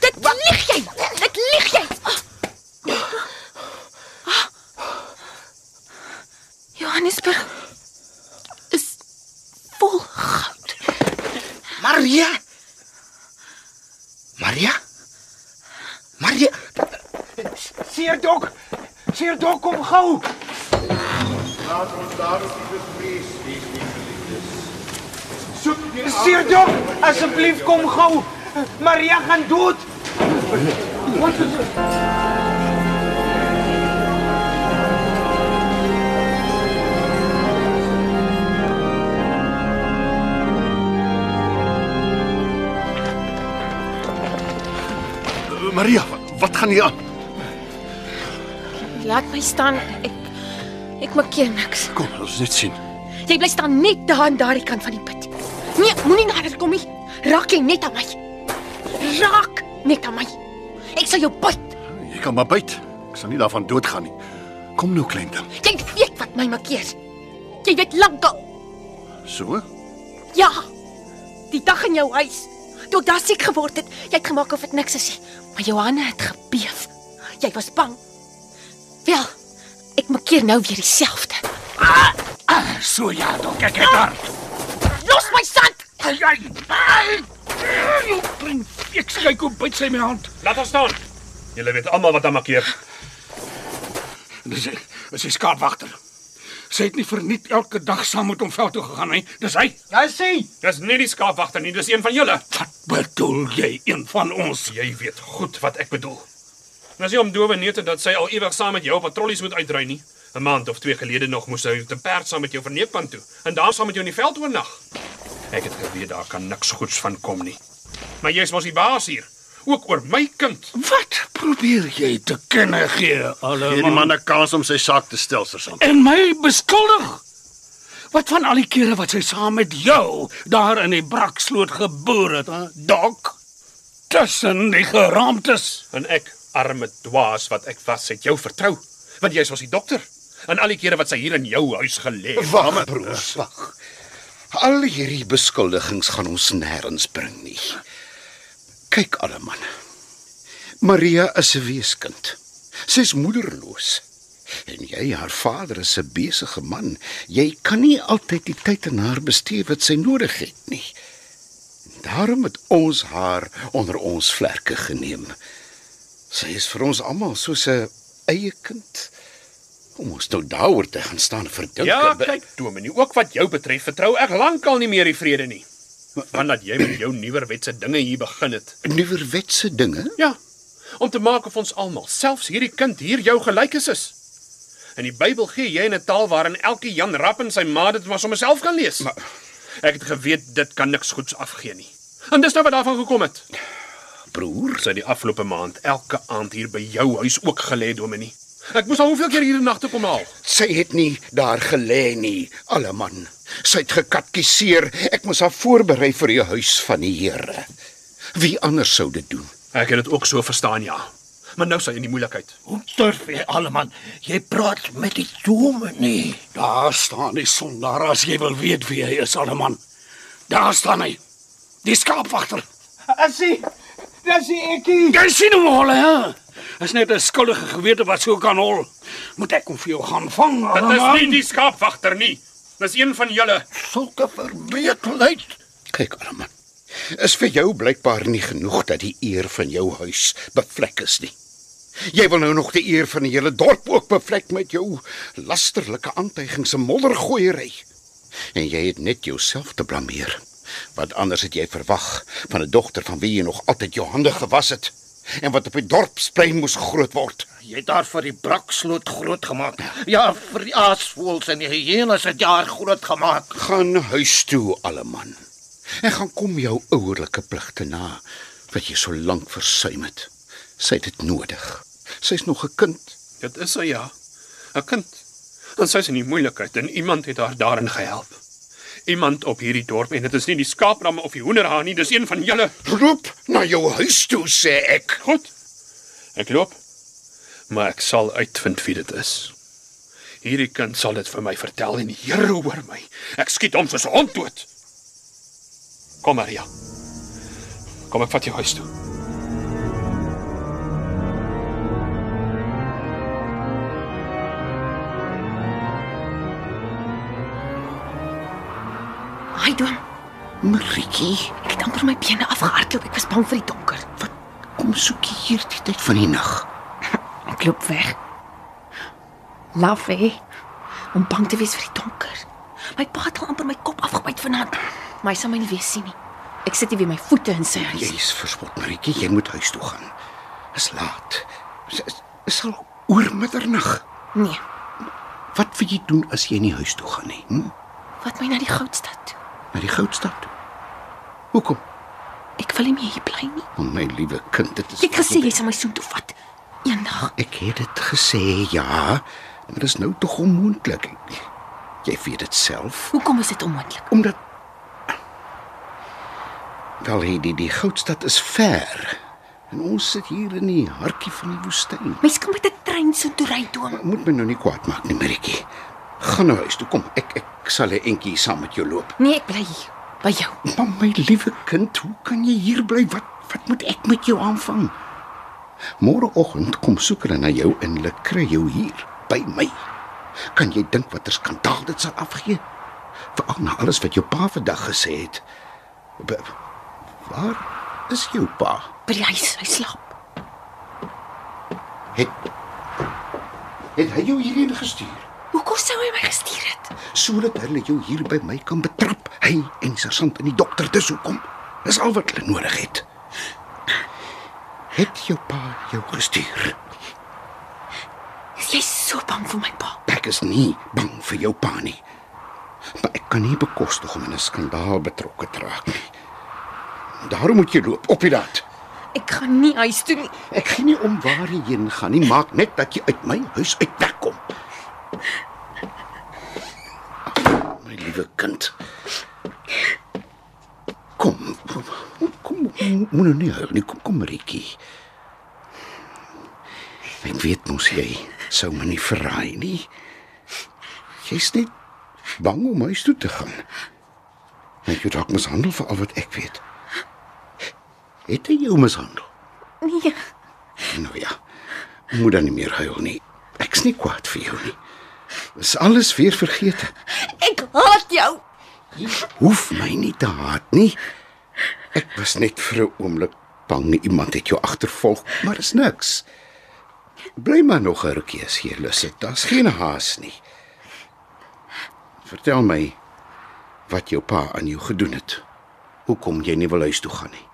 S6: Dit lieg jy. Dit lieg jy. Johannesburg is vol goud.
S10: Maria. Maria? Maria.
S2: Seerdok. Seerdok kom gou.
S12: Laat ons daarop die bevrees wees, nie geliefdes.
S2: Soek Seerdok, asseblief kom gou. Maria gaan dood. Wat is dit?
S7: Eh, Maria, wat, wat gaan hier aan?
S6: Laat my staan. Ek ek maak keer niks.
S7: Kom, ons net sien.
S6: Jy bly staan net daar aan daardie kant van die put. Nee, moenie nader kom nie. Raak jy net aan my. Raak net aan my. Ek sal jou byt.
S7: Jy kan maar byt. Ek sal nie daarvan doodgaan nie. Kom nou, klein ding.
S6: Jy weet wat my maak keer. Jy weet lankal.
S7: So?
S6: Ja. Die dag in jou huis toe ek daar siek geword het, jy het gemaak of dit niks is nie, maar jou hande het gebeef. Jy was bang. Wel, ek maak keer nou weer dieselfde.
S2: Ah, so ja, dok, ek het haar.
S6: Ah! Los my sand.
S2: Ai, ai. ai. Jy bring ek kyk hoe byt sy my hand.
S11: Laat ons staan. Julle weet almal wat aan makkeer.
S2: Dis hy. Dis die skaapwagter. Sy het nie verniet elke dag saam met hom veld toe gegaan nie. Dis hy. Ja, sê.
S11: Dis nie die skaapwagter nie, dis een van julle.
S2: Wat bedoel jy, een van ons?
S11: Jy weet goed wat ek bedoel. En as jy om dowe neete dat sy al ewig saam met jou op patrollies moet uitry nie. 'n Maand of twee gelede nog moes sy te perd saam met jou verneepkant toe en daar saam met jou in die veld oornag. Ek het geweet daar kan niks goeds van kom nie. Maar jy's mos die baas hier, ook oor my kind.
S2: Wat probeer jy te kenne gee? Alle
S7: Gee die man 'n kans om sy saak te stel, sergeant.
S2: En my beskuldig. Wat van al die kere wat sy saam met jou daar in die braksloot geboer het, hè? Dok. Tussen die geraamtes.
S11: En ek, arme dwaas wat ek was, het jou vertrou, want jy's mos die dokter. En al die kere wat sy hier in jou huis gelê het.
S12: Wag, broers, wag. Al hierdie beskuldigings gaan ons nêrens bring nie. Kyk alle man. Maria is 'n weeskind. Sy's moederloos. En jy, haar vader is 'n besige man. Jy kan nie altyd die tyd aan haar bestee wat sy nodig het nie. Daarom het ons haar onder ons vlerke geneem. Sy is vir ons almal soos 'n eie kind. Kom ons nou daaroor te gaan staan verdink.
S11: Ja, kyk Dominee, ook wat jou betref, vertrou ek lankal nie meer die vrede nie. Want dat jy met jou nuwerwetse dinge hier begin het.
S12: Nuwerwetse dinge?
S11: Ja. Om te maak of ons almal, selfs hierdie kind hier jou gelykes is. In die Bybel gee jy in 'n taal waarin elke Jan Rapp en sy ma dit maar sommer self kan lees. Maar, ek het geweet dit kan niks goeds afgee nie. En dis nou wat daarvan gekom het.
S12: Broer,
S11: sy het die afgelope maand elke aand hier by jou huis ook gelê, Dominee. Ek moes al hoeveel keer hierdie nagte kom haal.
S12: Sy het nie daar gelê nie, alle man. Sy het gekatkiseer. Ek moes haar voorberei vir die huis van die Here. Wie anders sou dit doen?
S11: Ek het dit ook so verstaan, ja. Maar nou is hy in die moeilikheid.
S2: Hoe durf jy, alleman? Jy praat met die dominee. Daar staan die sondaar as jy wil weet wie hy is, alleman. Daar staan hy. Die skaapwagter.
S13: Asie. Dis ekie.
S2: Jy sien hom al, hè? Is net 'n skuldige gewete wat so kan hol. Moet ek hom vir jou gaan vang,
S11: Dit is
S2: alleman?
S11: nie die skaapwagter nie. Dis een van julle.
S2: Sulke verbeeldheid.
S12: Kyk, Arman. Is vir jou blykbaar nie genoeg dat die eer van jou huis bevlek is nie. Jy wil nou nog die eer van die hele dorp ook bevlek met jou lasterlike aantuigings en moddergooiery. En jy het net jouself te blameer. Want anders het jy verwag van 'n dogter van wie jy nog altyd jou hande gewas het en wat op die dorpsplein moes groot word.
S3: Jy het daar vir die braksloot groot gemaak. Ja, vir die aasvoëls en die hyenas het jy haar groot gemaak.
S12: Gaan huis toe, alleman. En gaan kom jou ouerlike pligte na wat jy so lank versuim het. Sy het dit nodig. Sy's nog 'n kind.
S11: Dit is sy ja. 'n Kind. En sy is in die moeilikheid en iemand het haar daarin gehelp. Iemand op hierdie dorp en dit is nie die skaapramme of die hoenderhaan nie, dis een van julle.
S12: Roep na jou huis toe sê ek.
S11: Goed. Ek loop. Maar ek sal uitvind wie dit is. Hierdie kind sal dit vir my vertel en die Here hoor my. Ek skiet hom soos 'n hond dood. Kom Maria. Kom ek vat jou huis toe.
S6: Haai dom.
S12: Maritjie,
S6: ek het amper my bene afgehardloop. Ek was bang vir die donker. Wat?
S12: Kom soek jy hier die tyd van die nag?
S6: Ek loop weg. Laf hè. Om bang te wees vir die donker. My pa het al amper my kop afgebyt vanaand. Maar hy sal my nie weer sien nie. Ek sit hier weer my voete in sy huis.
S12: Jy's verspot, Maritjie, jy moet huis toe gaan. Is laat. Is- is- Is al oor middernag.
S6: Nee.
S12: Wat wil jy doen as jy nie huis toe gaan nie? Hm?
S6: Wat my na die goudstad toe.
S12: Na die goudstad toe. Hoekom?
S6: Ek wil nie meer hier bly nie.
S12: Want my liewe kind, dit is
S6: Jy het gesê jy sal my soontoe vat. Eendag.
S12: Ek het dit gesê, ja, maar dit is nou tog onmoontlik. Jy weet dit self.
S6: Hoekom is dit onmoontlik?
S12: Omdat Wel, hey, die die goudstad is ver. En ons sit hier in die hartjie van die woestyn.
S6: Mens kan met 'n trein soontoe ry, Dom.
S12: Moet my nou nie kwaad maak nie, Maritjie. Gaan nou huis toe, kom. Ek ek sal 'n entjie saam met jou loop.
S6: Nee, ek bly hier by jou.
S12: Maar my liewe kind, hoe kan jy hier bly? Wat wat moet ek met jou aanvang? Môreoggend kom soek hulle na jou en hulle kry jou hier by my. Kan jy dink watter skandaal dit sal afgee? Veral na alles wat jou pa vandag gesê het. Be, waar is jou pa?
S6: By die huis, hy slaap.
S12: Het het hy jou hierheen gestuur
S6: Hoekom sou hy my gestuur het?
S12: sodat hulle jou hier by my kan betrap? Hy en sergeant en die dokter te soek kom. Dis al wat hulle nodig het. Het jou pa jou gestuur?
S6: Is jy so bang vir my pa?
S12: Ek is nie bang vir jou pa nie. Maar ek kan nie bekostig om in 'n skandaal betrokke te raak nie. Daarom moet jy loop op die pad.
S6: Ek gaan nie huis toe nie.
S12: Ek gee nie om waar jy heen gaan nie, maak net dat jy uit my huis uit wegkom. My liewe kind. Kom. Kom, kom moenie nou nie huil nie. Kom, kom Rikkie. Ek weet mos jy sou my nie verraai nie. Jy's net bang om huis toe te gaan. Maar jy dalk mishandel vir al wat ek weet. Het hy jou mishandel?
S6: Nee.
S12: Nou ja. Moet dan nie meer huil nie. Ek's nie kwaad vir jou nie. Dis alles weer vergeet.
S6: Ek haat jou.
S12: Hoef my nie te haat nie. Ek was net vir 'n oomblik bang iemand het jou agtervolg, maar is niks. Bly maar nog 'n rukkie as jy lus het. Daar's geen haas nie. Vertel my wat jou pa aan jou gedoen het. Hoekom jy nie wil huis toe gaan nie.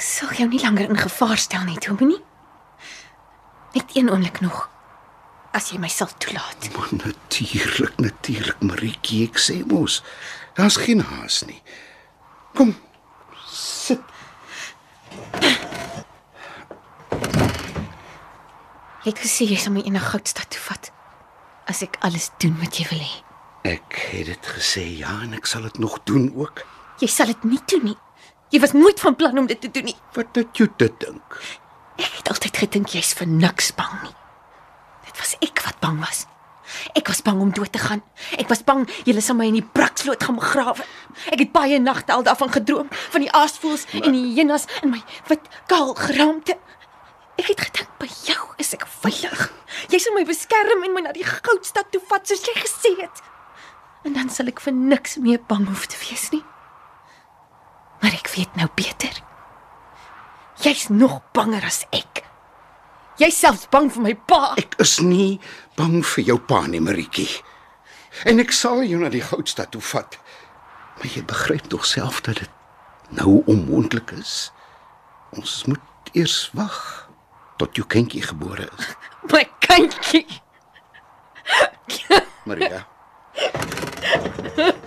S6: Sal jou nie langer in gevaar stel nie, Dominie. Net een oomblik nog. As jy my sal toelaat.
S12: Maar natuurlik, natuurlik, Maritjie, ek sê mos, daar's geen haas nie. Kom. Sit.
S6: Jy het gesê jy sal my eendag goudstad toe vat as ek alles doen wat jy wil hê.
S12: Ek het dit gesê, ja, en ek sal dit nog doen ook.
S6: Jy sal dit nie doen nie. Jy was nooit van plan om dit te doen nie.
S12: Wat het jy dit dink?
S6: Ek het altyd gedink jy's vir niks bang nie. Dit was ek wat bang was. Ek was bang om dood te gaan. Ek was bang julle sal my in die braksloot gaan begrawe. Ek het baie nagte al daarvan gedroom, van die aasvoëls en die hyenas in my wit kaal geraamte. Ek het gedink by jou is ek veilig. Jy sal my beskerm en my na die goudstad toe vat soos jy gesê het. En dan sal ek vir niks meer bang hoef te wees nie. Maar ek weet nou beter. Jy's nog banger as ek. Jy's selfs bang vir my pa.
S12: Ek is nie bang vir jou pa nie, Maritjie. En ek sal jou na die goudstad toe vat. Maar jy begryp tog self dat dit nou onmoontlik is. Ons moet eers wag tot jou kindjie gebore is.
S14: My kindjie.
S12: Maria.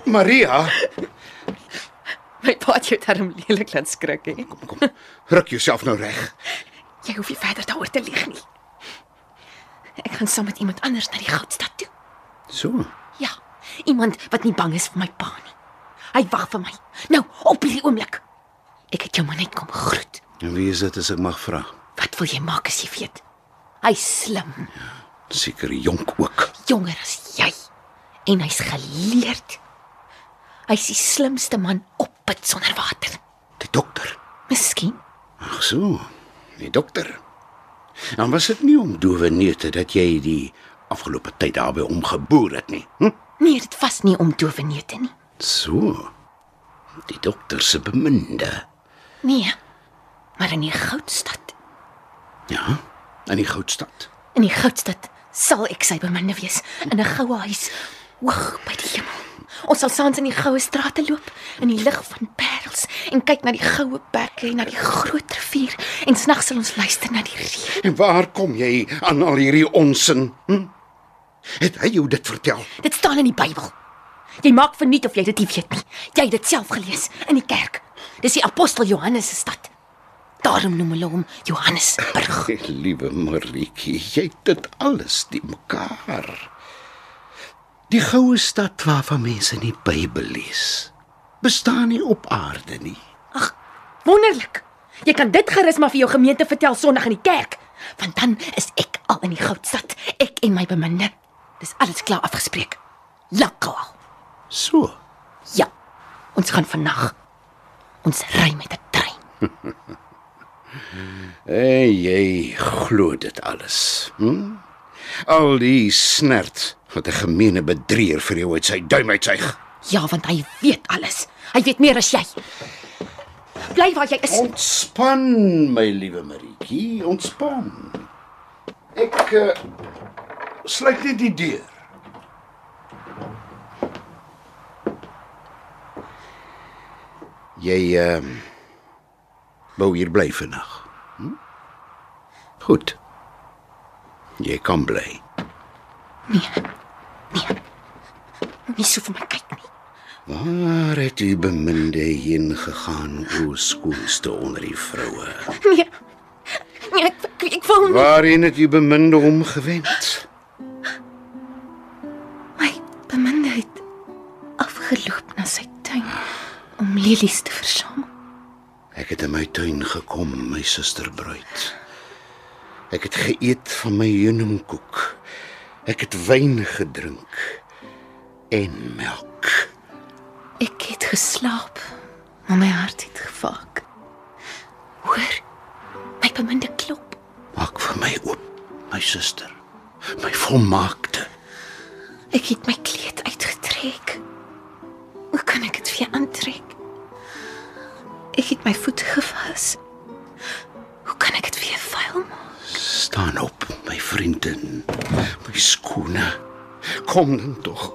S12: Maria,
S14: My pa het jou darm lelik laat skrik hè.
S12: ruk jouself nou reg.
S6: Jy hoef nie verder daaroor te lieg nie. Ek gaan saam met iemand anders na die goudstad toe.
S12: So.
S6: Ja, iemand wat nie bang is vir my pa nie. Hy wag vir my. Nou, op hierdie oomblik. Ek het jou maar net kom groet.
S12: En wie is dit as ek mag vra?
S6: Wat wil jy maak as jy weet? Hy's slim,
S12: Seker jonk ook.
S6: jonger as jy en hy's geleerd. Hy's die slimste man op put sonder water.
S12: Die dokter.
S6: Miskien.
S12: Ag so, die dokter. Dan was dit nie om dowe neute dat jy die afgelope tyd daarby omgeboer het nie. Hm?
S6: Nee, dit was nie om doofenete nie.
S12: So. Die dokter se beminde.
S6: Nee. Maar in die goudstad,
S12: Ja, in die goudstad.
S6: in die goudstad sal ek sy beminde wees in 'n goue huis hoog by die hemel. Ons sal saans in die goue strate loop in die lig van parels en kyk na die goue berge en na die groot rivier en snags sal ons luister na die reën.
S12: En waar kom jy aan al hierdie onsin? Hm? Het hy jou dit vertel?
S6: Dit staan in die Bybel. Jy maak verniet of jy dit nie weet nie. Jy het dit self gelees in die kerk. Dis die apostel Johannes se stad. Daarom noem hulle hom Johannesburg.
S12: Liewe Marietjie, jy het dit alles die mekaar. Die goue stad waarvan mense in die Bybel lees, bestaan nie op aarde nie.
S6: Wonderlik. Jy kan dit gerus maar vir jou gemeente vertel Sondag in die kerk, want dan is ek al in die goudstad, ek en my beminde. Dis alles klaar afgespreek. Lekker.
S12: So.
S6: Ja. Ons gaan vannag. Ons ry met 'n trein.
S12: En jy glo dit alles. Hm? Al die snert wat 'n gemeene bedrieër vir jou uit sy duim uitsuig.
S6: Ja, want hy weet alles. Hy weet meer as jy. Bly waar jy is.
S12: Ontspan, my liewe Marietjie, ontspan. Ek
S15: eh,
S12: uh, sluit net die deur. Jy ehm uh, wou hier bly vandag. Hm? Goed. Jy kan bly.
S6: Moenie Nee. so vir my kyk.
S12: Waar het u beminde heen gegaan, o skoonste onder die vroue?
S6: Nee. Nee, ek ek, ek wil nie.
S12: Waarheen het u beminde omgewend?
S6: My beminde het afgeloop na sy tuin om lelies te versamel.
S12: Ek het in my tuin gekom, my suster bruid. Ek het geëet van my heuningkoek. Ek het wyn gedrink en melk.
S6: Ek het geslaap, maar my hart het gevaak. Hoor, my beminde klop.
S12: Maak vir my oop, my suster. My volmaakte.
S6: Ek het my kleed uitgetrek. Hoe kan ek dit weer aantrek? Ek het my voet gewas. Hoe kan ek dit weer vuil maak?
S12: Staan op, my vriendin. My skoene. Kom dan tog.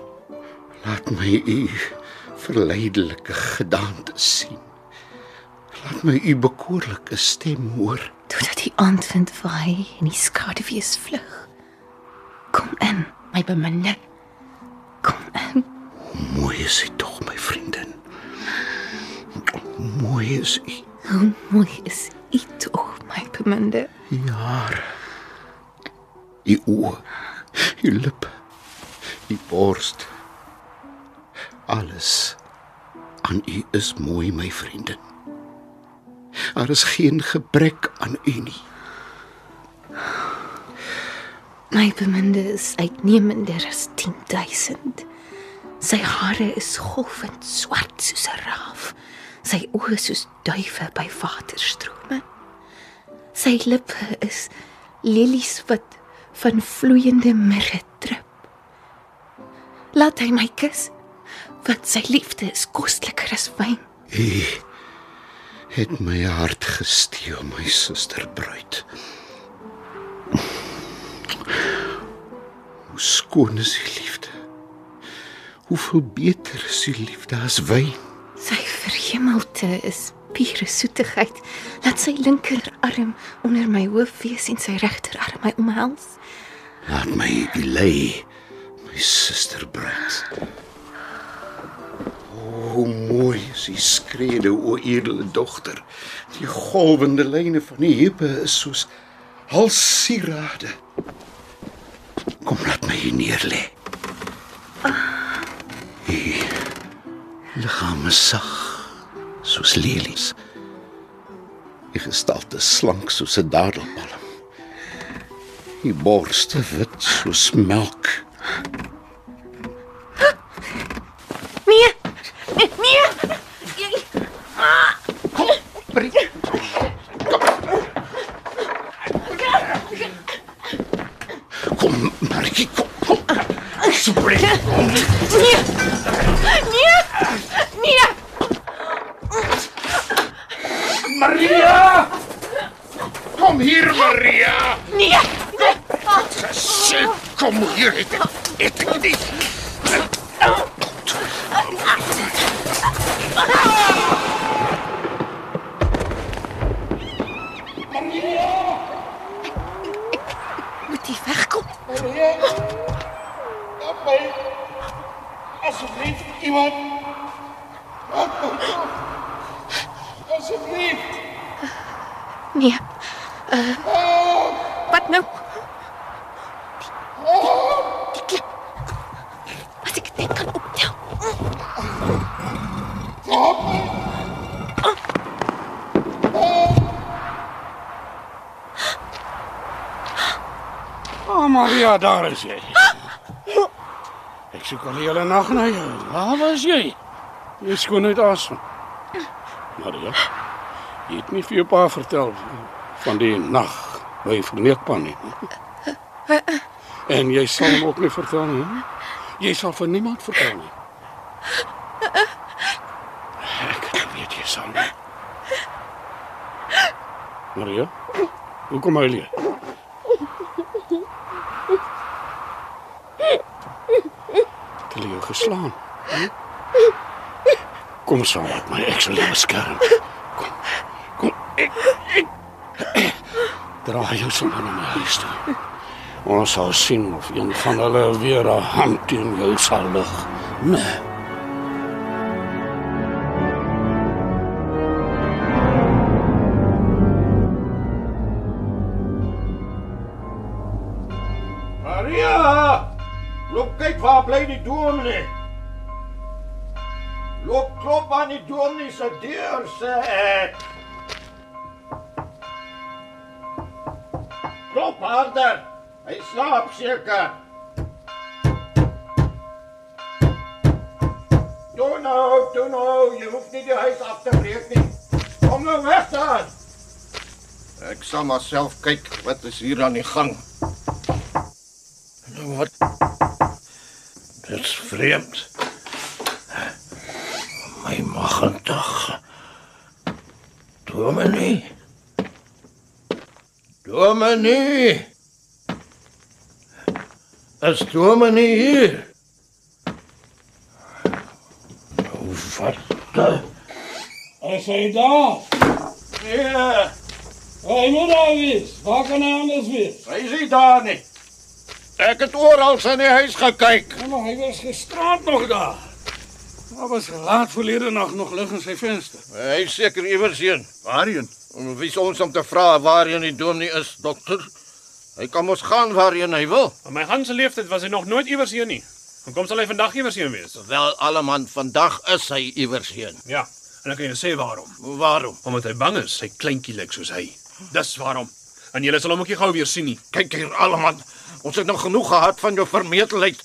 S12: Laat my u verleidelike gedaante sien. Laat my u bekoorlike stem hoor.
S6: Totdat die aand vind waai en die skaduwees vlug. Kom in, my beminde.
S12: Mooi is u tog, my vriendin. Mooi is u
S6: Hoe mooi is u tog, my beminde.
S12: u hare. U oë, u lippe, u bors. Alles aan u is mooi, my vriendin. Daar is geen gebrek aan u nie.
S6: My beminde is uitnemender as 10000. Sy hare is golvend swart soos 'n raaf. Sy oë soos duiwe by waterstrome. Sy lippe is lelies wat van vloeiende mirre drup. Laat hy my kus, want sy liefde is kosliker as wyn.
S12: U het my hart gesteel, my suster bruid. Hoe skoon is u liefde. Hoeveel beter is die liefde as wyn?
S6: Sy verhemelte is pure soetigheid. Laat sy linkerarm onder my hoof wees en sy regterarm my omhels.
S12: Laat my belei, my suster Brand. O, Hoe mooi is die skrede, o edele dogter. Die golwende lyne van die heupe is soos halssierade. Kom laat my hier neer lê. Die liggaam is sag soos lelies. Die gestalte is slank soos 'n dadelpalm. Die borste wit soos melk.
S16: Nee. Nee. nee. Jy Kom,
S12: Brie. Kom, Markie, kom. kom. Asseblief.
S16: Nee. Nee. Nee.
S15: Maria! Kom hier, Maria.
S16: Nee.
S15: Shit, kom hier. Het ek het ek nie.
S6: Moet jy wegkom?
S15: Help my. Asseblief iemand. Help my. Asseblief.
S6: Nee. Uh,
S15: Oh.
S6: wat nou?
S15: Oh.
S6: Die, die, die klip. As ek dit kan optel.
S15: Help my. Oh, Maria, daar is jy. Ek soek al die hele nag na jou. Waar was jy? Jy skoon uit asem. Maria, jy het nie vir jou pa vertel van die nag by Verneekpan nie. En jy sal hom ook nie vertel nie. Jy sal vir niemand vertel nie.
S6: Eh,
S15: Ek weet jy sal nie. Maria, hoekom huil jy? Het hulle jou geslaan? Hm? Kom saam met my, ek sal jou beskerm. Kom. Kom. Ek ek draai jou sommer na my huis toe. Ons sal sien of een van hulle weer 'n hand teen jou sal lig. Nee.
S3: Maria! Loop kyk waar bly die dominee. Loop klop aan die dominee se deur sê ek. Klop harder. Hy slaap seker. Doen nou, doen nou, jy hoef nie die huis af te breek nie. Kom nou weg dan.
S17: Ek sal maar self kyk wat is hier aan die gang.
S3: Nou wat?
S17: Dit's vreemd.
S3: My magtig. Dominee. Dominee. Is dominee hier? Nou wat? da-
S2: Is hy daar?
S3: Nee,
S2: Hy moet daar wees. Waar kan hy anders wees?
S3: hy is nie daar nie. Ek het oral in die huis gekyk.
S2: Ja, maar hy was gisterand nog daar.
S3: Daar was laat verlede nag nog lig in sy venster. Hy is seker iewers heen. Waarheen? Om wie is ons om te vra waarheen die dominee is, dokter? Hy kan mos gaan waarheen hy wil.
S11: In my ganse lewe tyd was hy nog nooit iewers heen nie. En kom sal hy vandag iewers heen wees.
S3: Wel, alleman, vandag is hy iewers heen.
S11: Ja, en ek kan jou sê waarom.
S3: Waarom?
S11: Omdat hy bang is sy kleintjie lyk soos hy. Dis waarom. En julle sal hom ook nie gou weer sien nie.
S3: Kyk hier, alleman. Ons het nog genoeg gehad van jou vermetelheid.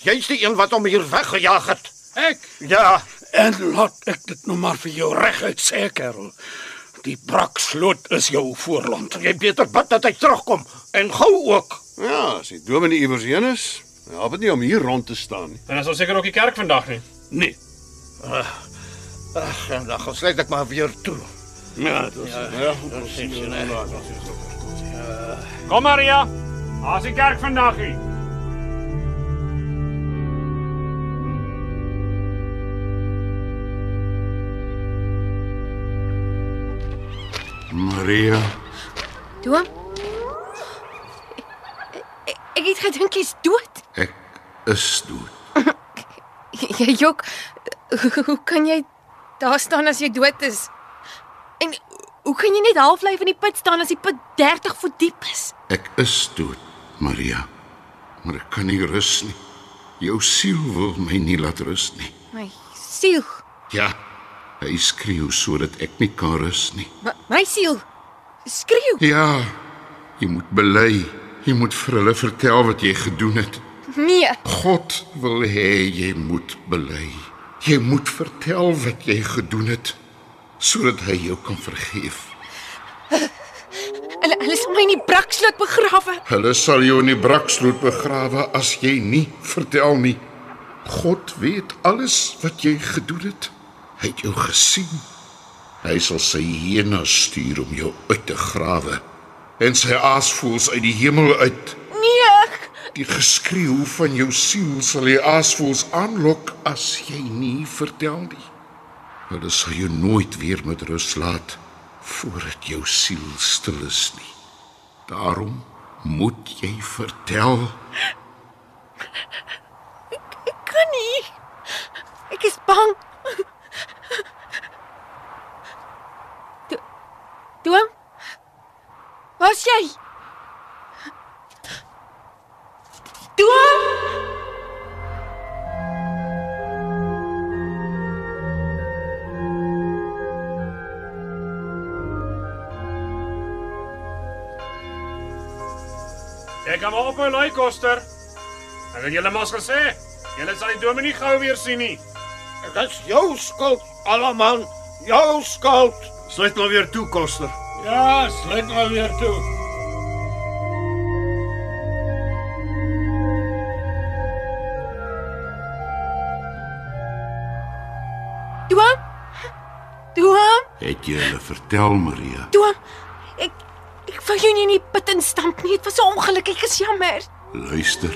S3: Jy's die een wat hom hier weggejaag het. Ek? Ja,
S2: En laat ek dit nou maar vir jou reguit sê, kerel. Die braksloot is jou voorland.
S3: jy beter bid dat hy terugkom en gou ook.
S14: Ja, as die dominee iewers heen is, help dit nie om hier rond te staan nie.
S11: En as ons seker ook die kerk vandag nie.
S3: Nee. Ag, en dan gaan sluit ek maar weer toe.
S11: Ja, dit is-
S3: ja, dit is nie.
S11: Eh, Kom Maria. As die kerk vandag hier.
S15: Maria!
S14: Maria,
S6: Doom? Ek, ek het gedink jy's dood.
S14: ek is dood.
S6: Jy jok. Hoe kan jy daar staan as jy dood is? En hoe kan jy net half lyf in die put staan as die put 30 voet diep is?
S14: Ek is dood, Maria. Maar ek kan nie rus nie. Jou siel wil my nie laat rus nie.
S6: My siel,
S14: Ja. Hy skreeu sodat ek nie kan rus nie.
S6: my, my siel skreeu.
S14: Ja. Jy moet bely. Jy moet vir hulle vertel wat jy gedoen het.
S6: Nee.
S14: God wil hê jy moet bely. Jy moet vertel wat jy gedoen het sodat hy jou kan vergeef.
S6: Hulle hulle sal my in die brakslot begrawe.
S14: Hulle sal jou in die braksloot begrawe as jy nie vertel nie. God weet alles wat jy gedoen het. Hy het jou gesien. Hy sal sy hiena stuur om jou uit te grawe en sy aasvoels uit die hemel uit.
S6: Nee.
S14: Die geskreeu van jou siel sal die aasvoels aanlok as jy nie vertel nie. Hulle sal jou nooit weer met rus laat voordat jou siel stil is nie. Daarom moet jy vertel.
S6: Ek kan nie. Ek is bang. Do- Doom? Waar's jy? Doom?
S11: Ek kom op my lui koster. Ek het julle mos gesê, julle sal die dominee gou weer sien nie.
S3: Dit is jou skuld, almal. Jou skuld.
S17: Sluit nou weer toe, koster.
S2: Ja, sluit nou weer toe.
S6: Doom? Doom?
S14: Het jy hulle vertel, Maria?
S6: Doom? Ek ek wou jou nie in die put instamp nie. Dit was 'n ongeluk. Ek is jammer.
S14: Luister.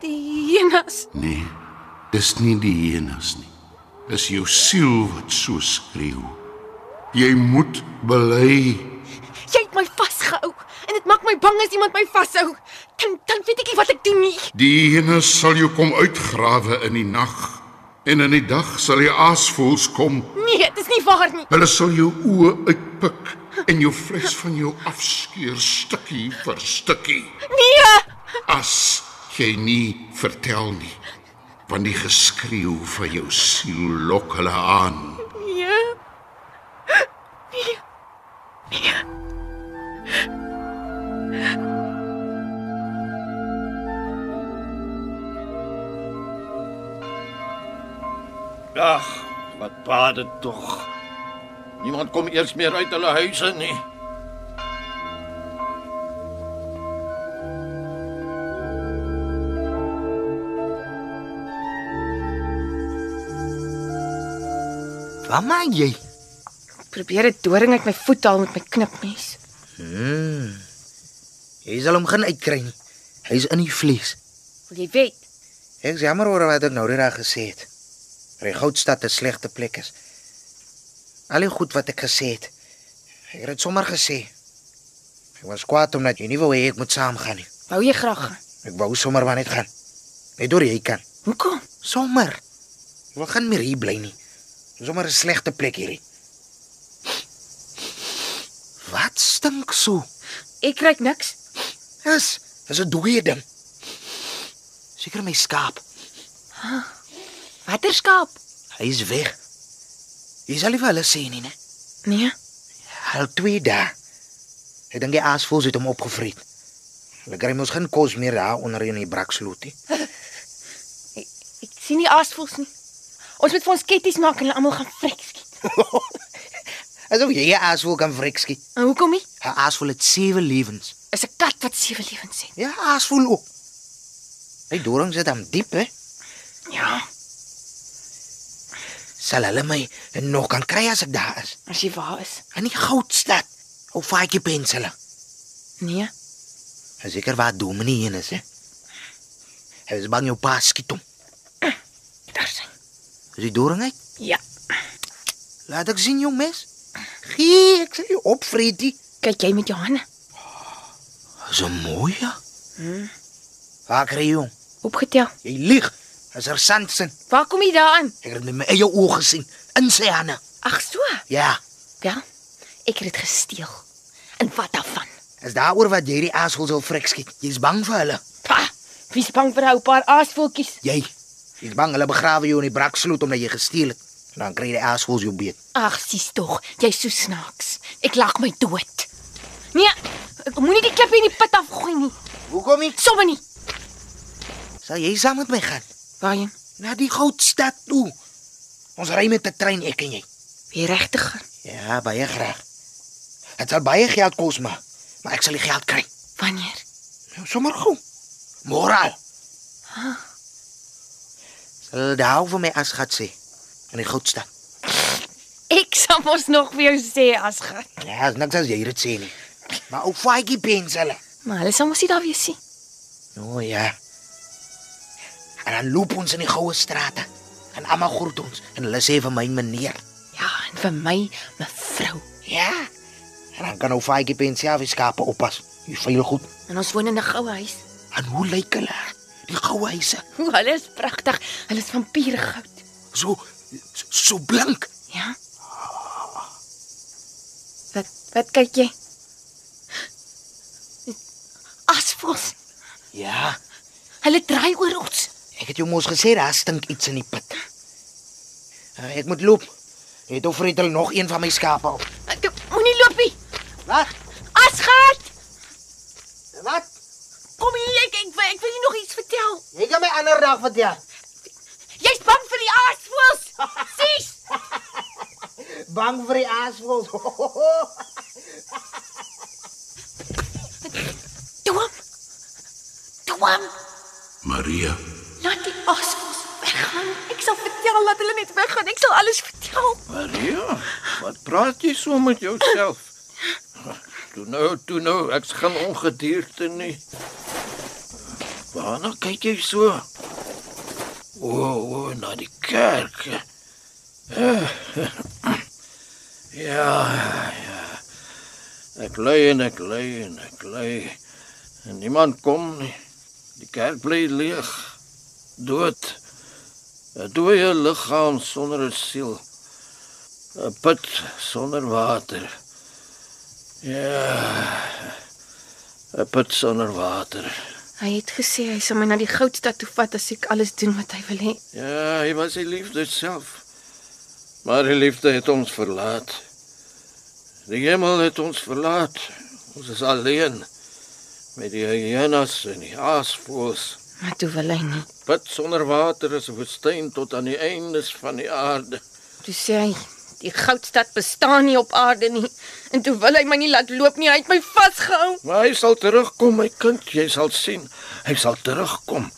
S6: Die hyenas.
S14: Nee. Dis nie die hyenas nie. Dis jou siel wat so skreeu. Jy moet bely.
S6: Jy het my vasgehou en dit maak my bang as iemand my vashou. Dan dan weet ek nie wat ek doen nie.
S14: Die hyenas sal jou kom uitgrawe in die nag en in die dag sal die aasvoëls kom.
S6: Nee, dit is nie waar nie.
S14: Hulle sal jou oë uitpik en jou vlees van jou afskeer stukkie vir stukkie
S6: Nee.
S14: as jy nie vertel nie. Want die geskreeu van jou siel lok hulle aan.
S6: Nee. Nee.
S3: Ag, wat baat dit tog. Niemand kom eers meer uit hulle huise nie.
S10: Wat maak jy?
S6: Probeer dit doring uit my voet haal met my knipmes.
S10: Hmm. Jy sal hom gaan uitkry nie. Hy is in die vlees.
S6: Wil jy weet?
S10: Ek is jammer oor wat ek nou reg gesê het. Die goudstad is 'n slegte plek is. Al die goed wat ek gesê het. Ek het dit sommer gesê. Ek was kwaad omdat jy nie wou hê ek moet saamgaan nie.
S6: Wou jy graag gaan?
S10: Ek wou sommer maar net gaan. Net deur jy kan.
S6: Hoekom?
S10: Sommer. Ek wil gaan meer hier bly nie. Dis sommer 'n slegte plek hierdie. Wat stink so?
S6: Ek kry niks.
S10: Dis, dis 'n dooie ding. Seker my skaap.
S6: Ah, Watter skaap?
S10: Hy is weg. Jy sal nie vir hulle sê nie, né?
S6: Nee.
S10: Al twee dae. Ek dink die aasvoëls het hom opgevreet. Hulle kry mos geen kos meer daar onder in die braksloot nie.
S6: Ek sien nie aasvoels nie. Ons moet vir ons ketties maak en hulle almal gaan vrek skiet.
S10: Asof jy 'n aasvoël kan vrekskie.
S6: En hoekom nie?
S10: 'n Aasvoël het sewe lewens.
S6: Is 'n kat wat sewe lewens het.
S10: Ja, aasvoël ook. Hy doring sit hom diep, hè?
S6: Ja.
S10: Sal hulle my nog kan kry as ek daar is?
S6: As jy waar is.
S10: In die goudstad. Of vaartjie pensele.
S6: Nee.
S10: Is seker waar Dominee heen is, hè? Hy is bang jou pa skiet hom.
S6: Daar sien.
S10: Is die doring uit?
S6: Ja.
S10: Laat ek sien jou mes. Gee, ek sal jou opvreet.
S16: Kyk jy met jou hande?
S10: Dis 'n mooi. Hmm.
S16: Hm.
S10: Waar kry jy hom?
S16: Opgetel.
S10: Jy lieg. As er sand sin.
S16: Waar kom jy daaraan?
S10: Ek het dit met my eie oë gesien in sy hande.
S16: Ag so.
S10: Ja,
S16: Wel, ek het dit gesteel. En wat daarvan?
S10: is daaroor wat jy die aashols wil vrek skiet. Jy's bang vir hulle.
S16: Pa, wie's bang vir 'n paar aasvoeltjies?
S10: Jy. Jy's bang hulle begrawe jou in die braksloot omdat jy gesteel het. En dan kry jy die aashols jou beet.
S16: Ag, sies tog, jy's so snaaks. Ek lag my dood. Nee, ek moenie die klippe in die put afgooi nie.
S10: Hoekom nie?
S16: Sommige nie.
S10: Sal jy saam met my gaan?
S16: Waarheen?
S10: Na die goudstad toe. Ons ry met 'n trein ek en jy.
S16: Wie regtig?
S10: Ja, baie graag. Dit sal baie geld kos maar, maar ek sal die geld kry.
S16: Wanneer?
S10: Nou sommer gou. Môre. al.
S16: Ah,
S10: Sal daar vir my as gat sê in die goudstad.
S16: Ek sal mos nog vir jou sê as gaan.
S10: Ja, is niks as jy dit sê nie. Maar ou faatjie pens hulle.
S16: Maar hulle sal mos nie daar wees nie.
S10: O oh, ja. En dan loop ons in die goue strate en almal groet ons en hulle sê vir my meneer.
S16: Ja, en vir my mevrou.
S10: Ja. En dan kan ou faatjie pens self die skape oppas. Jy veilig goed.
S16: En ons woon in 'n goue huis.
S10: En hoe lyk hulle? Die goue huise.
S16: Hoe hulle is pragtig. Hulle is van pure goud.
S10: So so blink.
S16: Ja. Wat wat kyk jy? Asfos.
S10: Ja.
S16: Hulle draai oor ons.
S10: Ek het jou mos gesê daar stink iets in die put. Uh, ek moet loop. Het of vreet hulle nog een van my skape op.
S16: Moenie loop nie.
S10: Wag.
S16: Asgat.
S10: Wat?
S16: Kom hier, ek ek, wil- ek wil jou nog iets vertel.
S10: Jy gaan my ander dag vertel.
S16: Jy's bang vir die aasvoëls. Sis.
S10: Bang vir die aasvoëls.
S16: Dwam. Dwam.
S14: Maria,
S16: Laat die aasvoëls weggaan. Ek sal vertel dat hulle net weggaan. Ek sal alles vertel.
S3: Maria, Ja, wat praat jy so met jouself? Toe nou, toe nou, ek's geen ongedierte nie. Waarna kyk jy so? O, o, na die kerk. Eh, Ja, ja. Ek lê en ek lê en ek lê. En niemand kom nie. Die kerk bly leeg. Dood. 'n Dooie liggaam sonder 'n siel. 'n put sonder water. Ja. 'n put sonder water.
S16: Hy het gesê hy sal my na die goudstad toe vat as ek alles doen wat hy wil hê.
S3: Ja, hy was die liefde self. Maar die liefde het ons verlaat. Die hemel het ons verlaat. Ons is alleen met die hyenas en die aasvoëls.
S16: Maar toe wil hy nie.
S3: Put sonder water is 'n woestyn tot aan die eindes van die aarde.
S16: Toe sê hy, die goudstad bestaan nie op aarde nie. En toe wil hy my nie laat loop nie. Hy het my vasgehou.
S3: Maar hy sal terugkom, my kind, jy sal sien. Hy sal terugkom.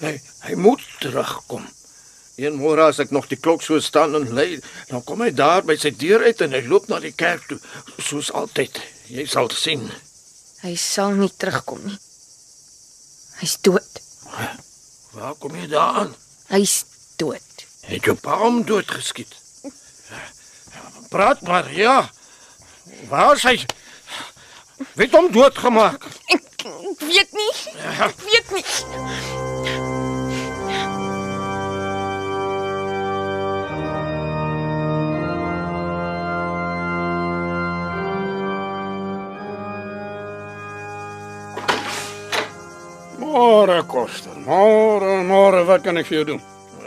S3: Hy hy moet terugkom. Een môre as ek nog die klok so staan en lei, dan kom hy daar by sy deur uit en hy loop na die kerk toe, soos altyd. Jy sal sien.
S16: Hy sal nie terugkom nie. Hy's dood.
S3: Waar kom jy daaraan?
S16: Hy's dood.
S3: Het jou pa hom doodgeskiet? Praat maar, ja. Waar is hy? Wie het hom doodgemaak?
S16: Ek weet nie. Ek weet nie.
S2: Môre koster. Môre, môre, wat kan ek vir jou doen?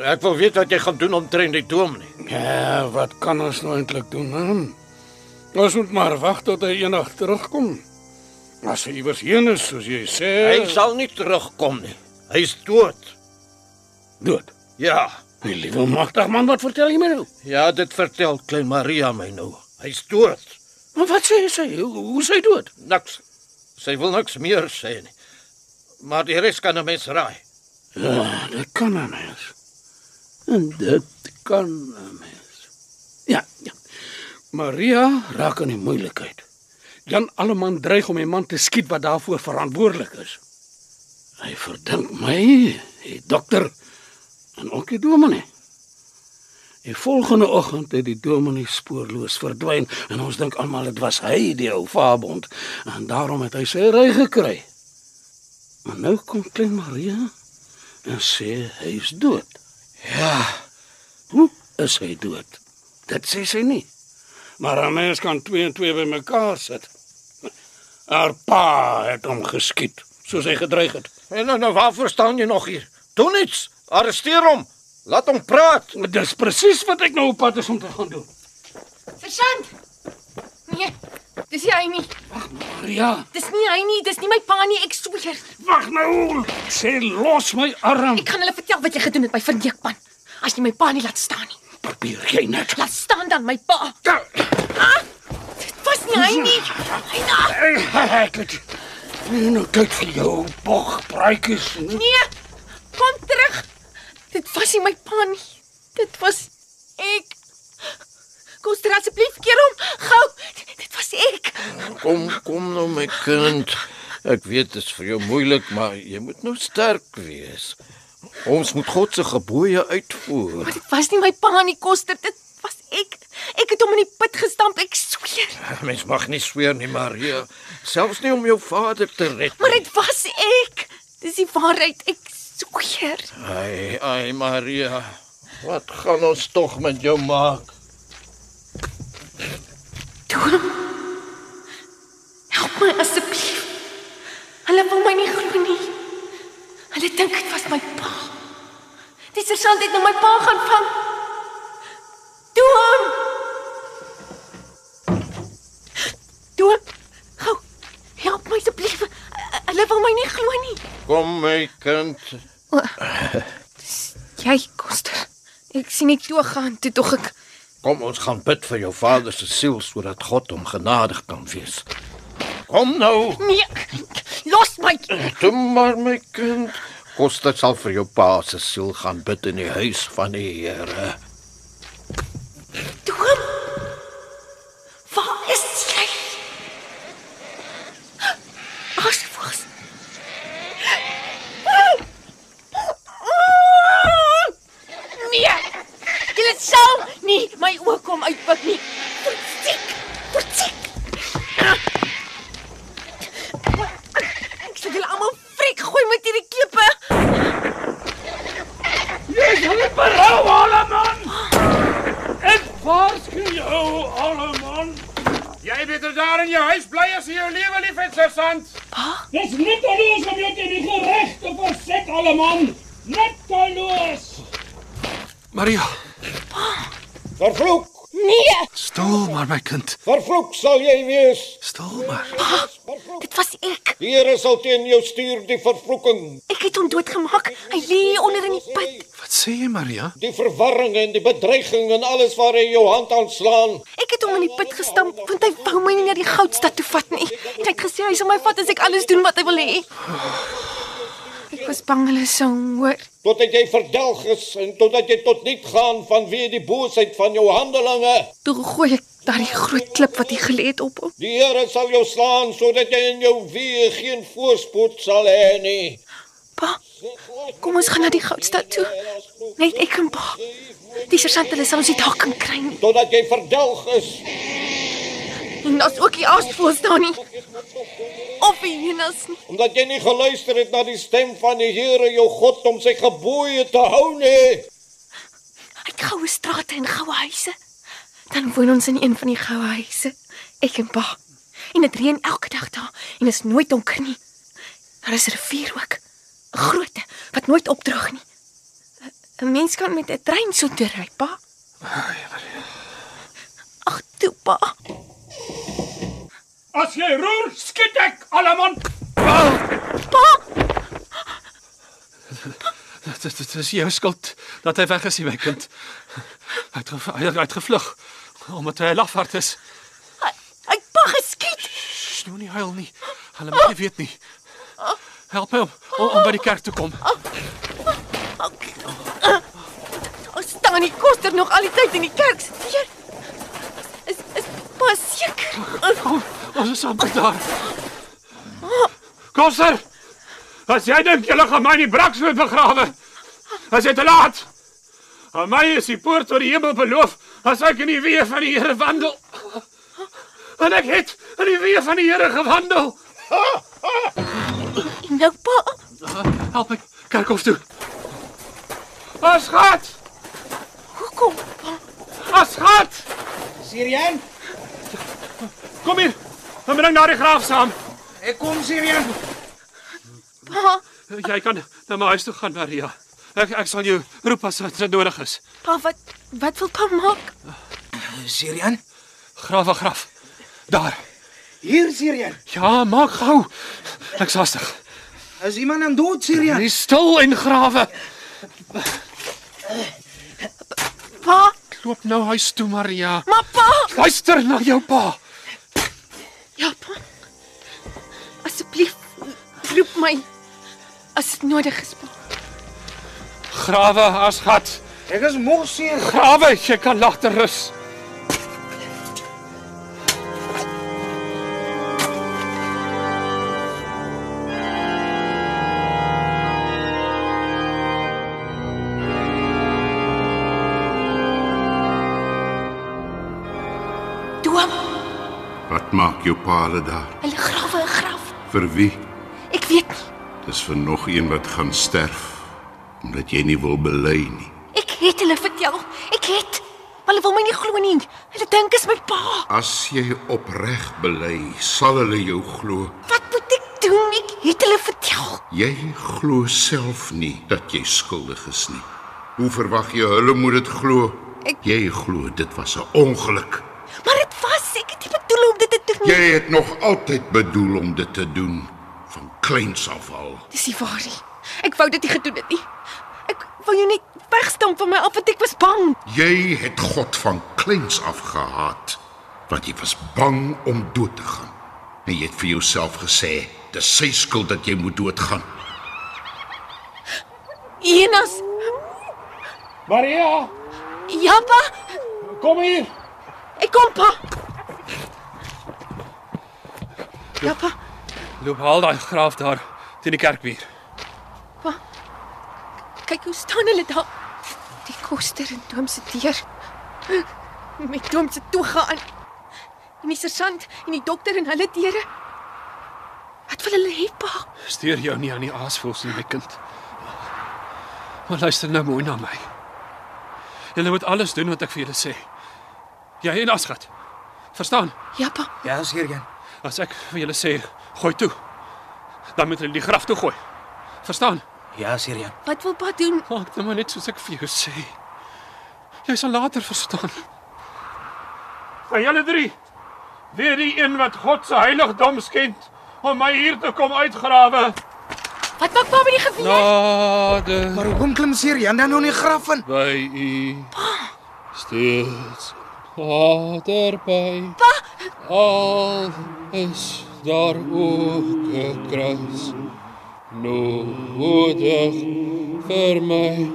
S3: Ek wil weet wat jy gaan doen omtrent die dom nie.
S2: Ja, wat kan ons nou eintlik doen? Hm? Ons moet maar wag tot hy eendag terugkom. As hy iewers heen is, soos jy sê.
S3: Hy sal nie terugkom nie. Hy is dood.
S2: Dood.
S3: Ja.
S2: My liewe magtig man, wat vertel jy my nou?
S3: Ja, dit vertel klein Maria my nou. Hy's dood.
S2: Maar wat sê sy? Hoe, hoe is hy dood?
S3: Niks. Sy wil niks meer sê nie. Maar die res kan 'n mens raai.
S2: Ja, dit kan 'n mens. En dit kan 'n mens. Ja, ja. Maria raak in die moeilikheid. Jan Alleman dreig om 'n man te skiet wat daarvoor verantwoordelik is. Hy verdink my, die dokter en ook die dominee. Die volgende oggend het die dominee spoorloos verdwyn en ons dink almal dit was hy die ou vaabond en daarom het hy sy ry gekry. Maar nou kom klein Maria en sê hy is dood. Ja. Hoe is hy dood? Dit sê sy nie.
S15: Maar 'n mens kan 2 en 2 bymekaar sit.
S2: Haar pa het hom geskiet, soos hy gedreig het.
S3: En nou, nou waarvoor staan jy nog hier? Doen iets. Arresteer hom. Laat hom praat.
S2: Dis presies wat ek nou op pad is om te gaan doen.
S6: Versand. Nee. Dis nie hy nie.
S2: Maria,
S6: Dis nie hy nie. Dis nie my pa nie, ek sweer.
S2: wag nou. Sê los my arm.
S6: Ek gaan hulle vertel wat jy gedoen het by Verneekpan. As jy my pa nie laat staan nie.
S2: Probeer jy net. Ja.
S6: Laat staan dan my pa. Ah, dit was nie hy nie. Hy
S2: daar. Ek het nie nou tyd vir jou bogbruikies nie.
S6: Nee. Kom terug. Dit was nie my pa nie. Dit was ek. Kom ster asseblief keer hom gou. Dit was ek.
S3: Kom, kom nou my kind. Ek weet dit is vir jou moeilik, maar jy moet nou sterk wees. Ons moet God se gebooie uitvoer.
S6: Dit was nie my pa nie, Koster. Dit was ek. Ek het hom in die put gestamp, ek sweer.
S3: Mens mag nie sweer nie, Maria, selfs nie om jou vader te red.
S6: Maar dit was ek. Dis die waarheid, ek sweer.
S3: Ai, ai Maria. Wat gaan ons tog met jou maak?
S6: Help my asseblief. Hulle wil my nie glo nie. Hulle dink dit was my pa. Die sergeant het nou my pa gaan vang. Toe hom. Toe. Gou. Help my asseblief. Hulle wil my nie glo nie.
S3: Kom my kind.
S6: O, Jy, Koster. Ek sien nie toe gaan toe tog ek.
S3: Kom ons gaan bid vir jou vader se siel sodat God hom genadig kan wees. Kom nou.
S6: Nee. Los my.
S3: Toe maar my kind. Koster sal vir jou pa se siel gaan bid in die huis van die Here.
S6: Waar is jy? Aasvoëls. Nee. Jy sal nie my oë kom uitpik nie. Totsiek. Totsiek. Ek sê julle almal frik gooi met hierdie klippe.
S2: Jy sal nie berou almal. Ek waarsku jou almal.
S11: Jy beter daar in jou huis bly as jy jou lewe lief het, sergeant.
S2: Dis net alles om jou teen die gereg te verset almal. Net alles.
S18: Maria,
S2: Vervloek.
S6: Nee.
S18: stil maar my kind.
S17: Vervloek sal jy wees.
S18: Stil maar.
S6: Ah, Dit was ek.
S17: Die Here sal teen jou stuur die vervloeking,
S6: Ek het hom doodgemaak. Hy lê hier onder in die put.
S18: Wat sê jy, Nee, Maria?
S17: die verwarring en die bedreiging en alles waar hy jou hand aan slaan.
S6: Ek het hom in die put gestamp want hy wou my nie na die goudstad toe vat nie. En hy het gesê hy sal my vat as ek alles doen wat hy wil hê. Ek was bang hulle sou hoor.
S17: Totdat jy verdelg is en totdat jy tot niet gaan vanweë die boosheid van jou handelinge.
S6: Toe gooi ek daardie groot klip wat hy gelê het op hom.
S17: Die Here sal jou slaan sodat jy in jou weë geen voorspoed sal hê nie.
S6: Pa, kom ons gaan na die goudstad toe. Net ek en pa. Die sergeant hulle sal ons nie daar kan kry nie.
S17: Totdat jy verdelg is.
S6: En daar's ook die aasvoëls daar nie. Of die hyenas nie.
S17: Omdat jy nie geluister het na die stem van die Here jou God om sy gebooie te hou nie.
S6: Ek goue strate en goue huise. Dan woon ons in een van die goue huise, ek en pa. En dit reën elke dag daar en is nooit donker nie. Daar is 'n rivier ook, 'n grootte wat nooit opdroog nie. 'n 'n Mens kan met 'n trein so deur ry, pa. Ag, toe pa.
S2: As jy roer, skiet ek almal.
S6: Pa,
S18: Dit dit- dit is jou skuld dat hy weg is, my kind. Hy het gev- hy het uitgevlug omdat hy 'n lafhart is.
S6: ek pa geskiet.
S18: Sst, nou nie huil nie. Hulle mag nie weet nie. Help hom om, om by die kerk te kom.
S6: Ons Ah, staan nie koster nog al die tyd in die kerk. Seer. Is is pa seker?
S18: Kom, ons is amper daar.
S15: Koster. As jy dink jy gaan my in die braksnoot begrawe, as jy te laat.
S11: Aan my is die poort tot die hemel beloof as ek in die weë van die Here wandel. En ek het in die weë van die Here gewandel.
S16: Nou pa,
S11: Help my kerkhof toe. As gat.
S16: hoekom?
S11: As gat.
S10: Sirian,
S11: Kom hier. En bring daardie graaf saam.
S10: ek kom Sirian.
S16: Pa,
S11: Jy kan na my huis toe gaan, Maria. Ek ek sal jou roep as dit nodig is.
S16: pa wat wat wil pa maak?
S10: Sirian,
S11: Grawe graf. Daar.
S10: hier Sirian.
S11: Ja, maak gou. Ek's hastig.
S10: Is iemand aan dood Sirian?
S11: Dis stil en grawe.
S16: Pa,
S11: loop nou huis toe, Maria.
S16: Maar pa,
S11: Luister na jou pa.
S16: ja pa. Asseblief roep my as dit nodig is. Pa.
S11: Grawe as gat.
S10: Ek is moeg seer.
S11: Grawe, jy kan later rus.
S16: Doom,
S14: Wat maak jou paal daar?
S16: hulle grawe 'n graf.
S14: Vir wie?
S16: Ek weet nie.
S14: Dis vir nog een wat gaan sterf omdat jy nie wil bely nie.
S16: Ek het hulle vertel. Ek het. Maar Hulle wil my nie glo nie. Hulle dink is my pa.
S14: As jy opreg bely, sal hulle jou glo.
S16: Ek doen ek het hulle vertel.
S14: Jy glo self nie dat jy skuldig is nie. Hoe verwag jy hulle moet dit glo?
S16: Ek-
S14: Jy glo dit was 'n ongeluk.
S16: Maar dit was ek het nie bedoel om dit te doen. nie.
S14: Jy het nog altyd bedoel om dit te doen van kleins af al.
S16: Dis nie waar nie. Ek wou dit nie gedoen het nie. Ek wou jou net wegstamp van my af want ek was bang.
S14: Jy het God van kleins af gehaat want jy was bang om dood te gaan. En jy het vir jouself gesê, dis sy skuld dat jy moet doodgaan.
S16: Enas.
S2: Maria,
S16: Ja pa,
S2: kom hier.
S16: ek kom pa. Ja pa,
S11: Loop haal daai graaf daar teen die kerkmuur.
S16: pa. Kyk hoe staan hulle daar. Die koster en Toom se deur. Met Toom se toga aan. En die sergeant en die dokter en hulle deure. Wat wil hulle hê pa?
S11: Steur jou nie aan die aasvoëls nie, my kind. Maar luister nou mooi na my. Julle moet alles doen wat ek vir julle sê. Jy en Asgat. Verstaan?
S16: Ja, pa.
S10: Ja, Sirian.
S11: As ek vir julle sê, gooi toe. Dan moet julle die graf toe gooi. Verstaan?
S10: Ja, Sirian.
S16: Wat wil pa doen?
S11: Maak dit maar net soos ek vir jou sê. Jy sal later verstaan. Gaan julle drie weer die een wat God se heiligdom skend om my hier te kom uitgrawe.
S16: Wat maak pa met die geweer?
S11: Nade.
S10: Maar hoekom klim Sirian dan nou in die graf in?
S11: By u. Steeds naderby.
S16: Pa!
S11: Al is daar ook 'n kruis nodig vir my.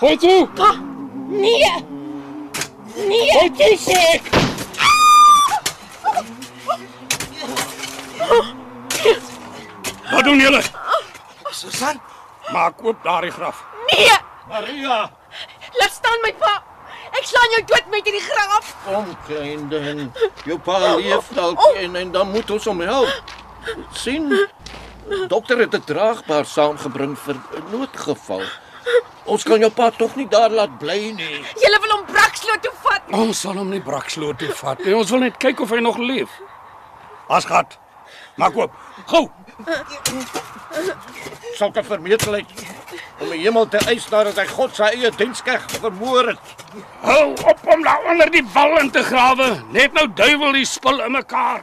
S11: Gooi toe.
S16: Pa! Nee! Nee!
S11: Gooi toe sê ek.
S2: Wat doen julle?
S10: Susan,
S2: maak oop daardie graf.
S16: Nee!
S2: Maria,
S16: Laat staan my pa. Ek slaan jou dood met hierdie graf.
S3: Kom, klein ding. Jou pa leef dalk en en dan moet ons hom help. sien? Dokter het 'n draagbaar saamgebring vir 'n noodgeval. Ons kan jou pa tog nie daar laat bly nie.
S16: Julle wil hom braksloot toe vat.
S2: Ons sal hom nie braksloot toe vat nie. Ons wil net kyk of hy nog leef. Asgat, maak oop. Gou.
S3: Sulke vermetelheid om die hemel te eis nadat hy God se eie dienskeg vermoor het.
S2: Hou op om daar onder die wal in te grawe. Net nou duiwel die spul in mekaar.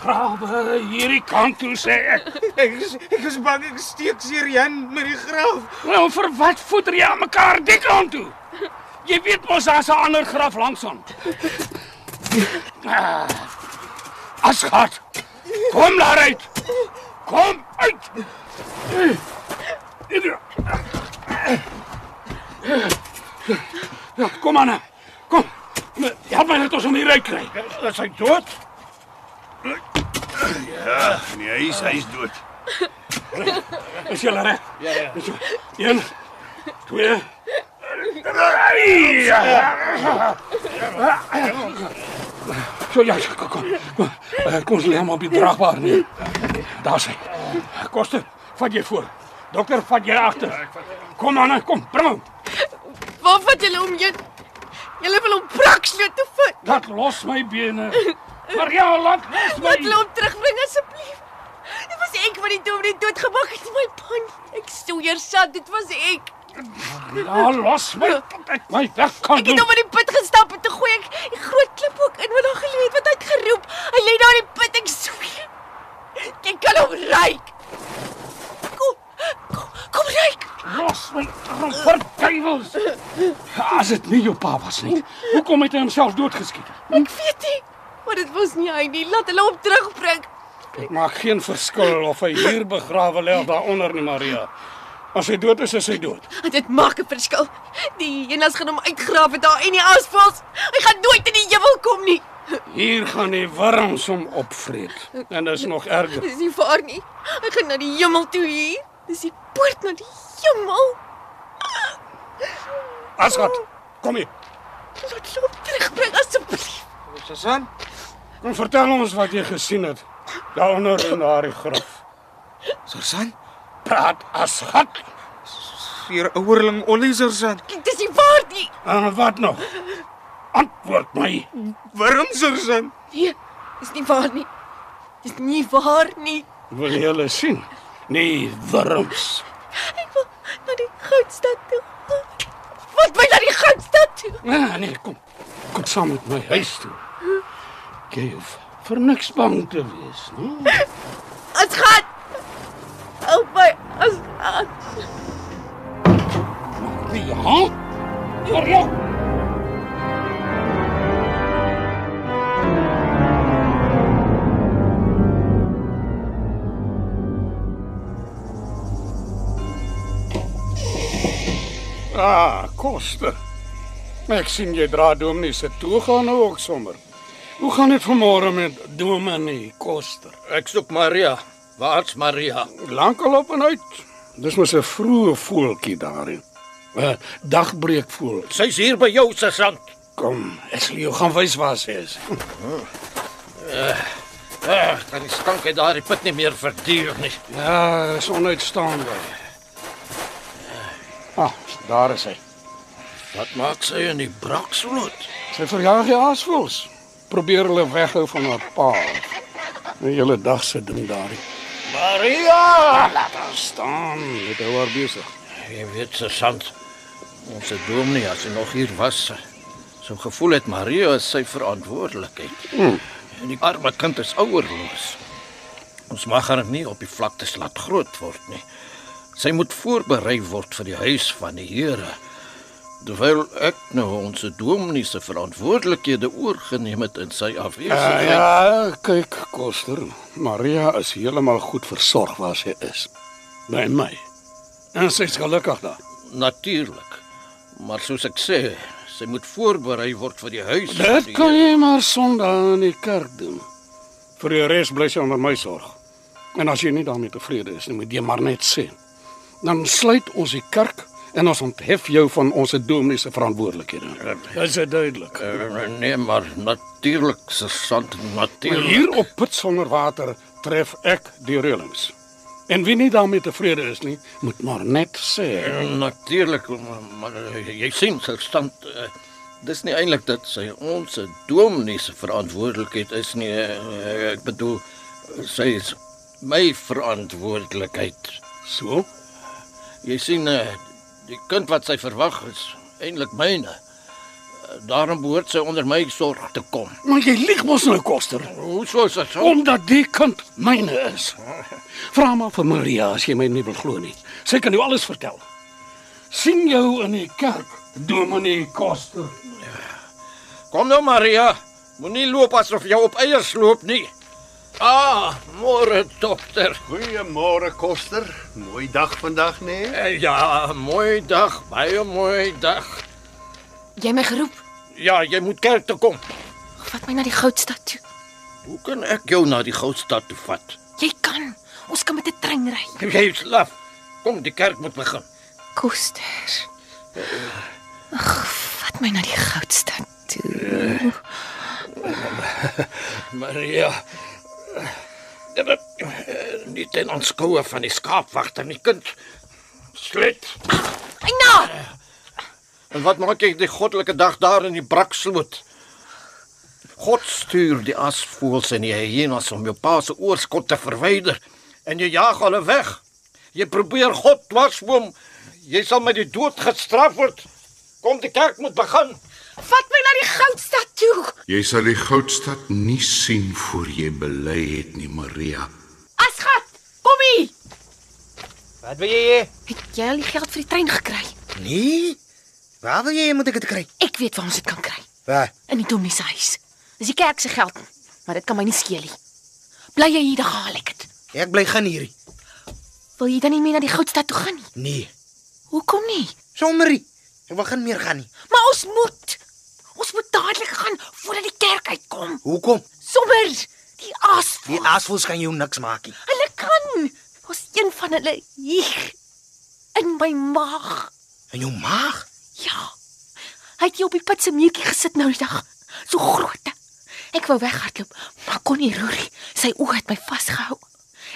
S2: Grawe hierdie kant toe sê ek.
S10: Ek is ek is bang ek steek Sirian met die graf.
S2: Nou vir wat voeter jy aan mekaar die kant toe? Jy weet mos daar's 'n ander graf langs hom. Ah, Asgat. Kom daar uit. Kom uit. Ja, kom aan. Kom. Help my net ons om hier uit kry. Is hy dood?
S7: Ja, nee, hy is hy is dood.
S2: Is jy reg?
S7: Ja, ja.
S2: Een, twee, Zo ja, kom, kom. Kom, Eh, kom ons lê hom op die dragbaar neer. Daar sy. Koster, vat jy voor. Dokter, vat jy agter. Kom Anna, kom, bring hom.
S16: Waar vat julle hom heen? Julle wil hom praksloot toe vat.
S2: Laat los my bene. Maria, laat los my.
S16: Laat hulle hom terugbring asseblief. Dit was ek wat die dominee doodgemaak het in my pan. Ek sweer, Sat, dit was ek.
S2: Laat los my. Ek my weg kan
S16: Ek het hom in die put gestap en toe gooi ek die groot klip ook in wat daar gelê het wat hy het geroep. Hy lê daar in die put, ek sweer. Jy kan hom ryk. Kom. Kom, kom ryk.
S2: Los my, verduivels. As dit nie jou pa was nie. Hoekom het hy homself doodgeskiet?
S16: Ek weet nie, maar dit was nie hy nie. Laat hulle hom terugbring.
S2: Dit maak geen verskil of hy hier begrawe lê of daaronder nie, Maria. As hy dood is, is hy dood.
S16: Dit maak 'n verskil. Die hyenas gaan hom uitgrawe daar en die asvals. Hy gaan nooit in die hemel kom nie.
S2: Hier gaan die wurms hom opvreet. En dit Nou is nog erger.
S16: Dis nie waar nie. Hy gaan na die hemel toe hier. Dis die poort na die hemel.
S2: Asgat, kom hier.
S16: Laat hom terugbring asseblief.
S2: Susan, kom vertel ons wat jy gesien het daaronder in haar graf.
S19: Susan,
S2: praat asgat.
S19: Hier ouerling Ollie Susan.
S16: Dis nie waar nie.
S2: En wat nog? Antwoord my.
S19: Waarom Susan?
S16: Nee, dis nie waar nie. Dis nie waar nie.
S2: Wil jy hulle sien? Nee, wurms.
S16: Ek wil na die goudstad toe. Wat wil jy na die goudstad toe?
S2: Ah, nee, kom. Kom saam met my huis toe. Jy hoef vir niks bang te wees, nie?
S16: Ons gaan. Help my. Ons gaan.
S2: Nee, ja. Maria. Ah, koste. Ek sien jy dra dominee se toga nou ook sommer. Hoe gaan dit vanmôre met dominee Koster?
S3: Ek soek Maria. Waar's Maria?
S2: Lankal op en uit. Dis mos 'n vroeë voeltjie Eh, daarin. 'n Dagbreek voel.
S3: Sy's hier by jou, Susan.
S2: Kom, ek sal jou gaan wys waar sy is.
S3: Ag, uh, kan die stank uit daardie put nie meer verduur nie.
S2: Ja, is onuitstaanbaar. Ah, daar is hy.
S3: Wat maak sy in die braksloot?
S2: Sy verjaag die aasvoëls. Probeer hulle weghou van haar pa. 'n Hele dag se ding daarin.
S3: Maria!
S2: Laat haar staan. Dit hou haar besig.
S3: Jy weet, Susan, ons het dominee as hy nog hier was, so gevoel het Maria is sy verantwoordelikheid.
S2: Hmm.
S3: En die arme kind is ouerloos. Ons mag haar nie op die vlaktes laat groot word nie. Sy moet voorberei word vir die huis van die Here. Terwyl ek nou ons dominee se verantwoordelikhede oorgeneem het in sy
S2: Uh,
S3: afwesigheid.
S2: ja, kyk, Koster. Maria is heeltemal goed versorg waar sy is. By my. En sy's gelukkig daar.
S3: Natuurlik. Maar soos ek sê, sy moet voorberei word vir die huis. van
S2: Dit
S3: die
S2: kan jy maar Sondag in die kerk doen. Vir die res bly sy onder my sorg. En as jy nie daarmee tevrede is nie, moet jy maar net sê. Dan sluit ons die kerk en ons onthef jou van ons dominee se verantwoordelikhede. Is Ja, dit duidelik?
S3: Uh, nee, maar natuurlik, sergeant,
S2: Maar
S3: natuurlik.
S2: hier op put sonder water tref ek die reëlings. En wie nie daarmee tevrede is nie, moet maar net sê.
S3: Eh, Natuurlik, maar, maar eh, jy sien, sergeant, uh, dis nie eintlik dat sy ons dominee se verantwoordelikheid is nie. Uh, ek bedoel sy is my verantwoordelikheid.
S2: So?
S3: Jy sien, uh, die kind wat sy verwag is, eintlik myne. Eh, Daarom behoort sy onder my sorg te kom.
S2: Maar jy lieg mos nou, Koster.
S3: Hoe sou dit so?
S2: Omdat die kind myne is. Vra maar vir Maria as jy my nie wil glo nie. Sy kan jou alles vertel. sien jou in die kerk, dominee Koster.
S3: Kom nou Maria, moenie loop asof jy op eiers loop nie. Ah, môre dokter.
S7: Goeiemôre koster. Mooi dag vandag, né?
S3: Nee? Ja, mooi dag, baie mooi dag.
S16: Jy my geroep.
S3: Ja, jy moet kerk toe kom.
S16: Vat my na die goudstad toe.
S3: Hoe kan ek jou na die goudstad toe vat?
S16: Jy kan. Ons kan met 'n trein ry.
S3: Jy is laf. Kom, die kerk moet begin.
S16: Koster.
S6: Vat my na die goudstad toe.
S19: Maria. Dit
S3: eh,
S19: nie ten aanskoue van die skaapwagter nie, kind.
S3: Slet.
S16: Eina!
S3: En wat maak jy die goddelike dag daar in die braksloot? God stuur die asvoëls en die hyenas om jou pa se oorskot te verwyder en jy jaag hulle weg. Jy probeer God dwarsboom. Jy sal met die dood gestraf word. Kom die kerk moet begin.
S16: Vat my na die goudstad toe.
S14: Jy sal die goudstad nie sien voor jy bely het nie, Maria.
S16: Asgat, kom hier.
S10: Wat wil jy hê?
S16: Het jy al die geld vir die trein gekry?
S10: Nee. Waar wil jy hê moet ek dit kry?
S16: Ek weet waar ons dit kan kry.
S10: Waar?
S16: In die dominee se huis. Dis die kerk se geld, maar dit kan my nie skeel nie. Bly jy hier, dan haal ek dit.
S10: Ek bly gaan hierdie.
S16: Wil jy dan nie meer na die goudstad toe gaan nie?
S10: Nee.
S16: Hoekom nie?
S10: Sommerie. Ek wil geen meer gaan nie.
S16: Maar ons moet. Ons moet dadelik gaan voordat die kerk uitkom.
S10: Hoekom?
S16: Sommer die as.
S10: Die asvoels kan jou niks maak nie.
S16: Hulle kan. Ons een van hulle hier in my maag.
S10: In jou maag?
S16: Ja. Hy het jou op die put se muurtjie gesit nou die dag. So grootte. Ek wou weghardloop, maar kon nie roer nie. Sy oë het my vasgehou.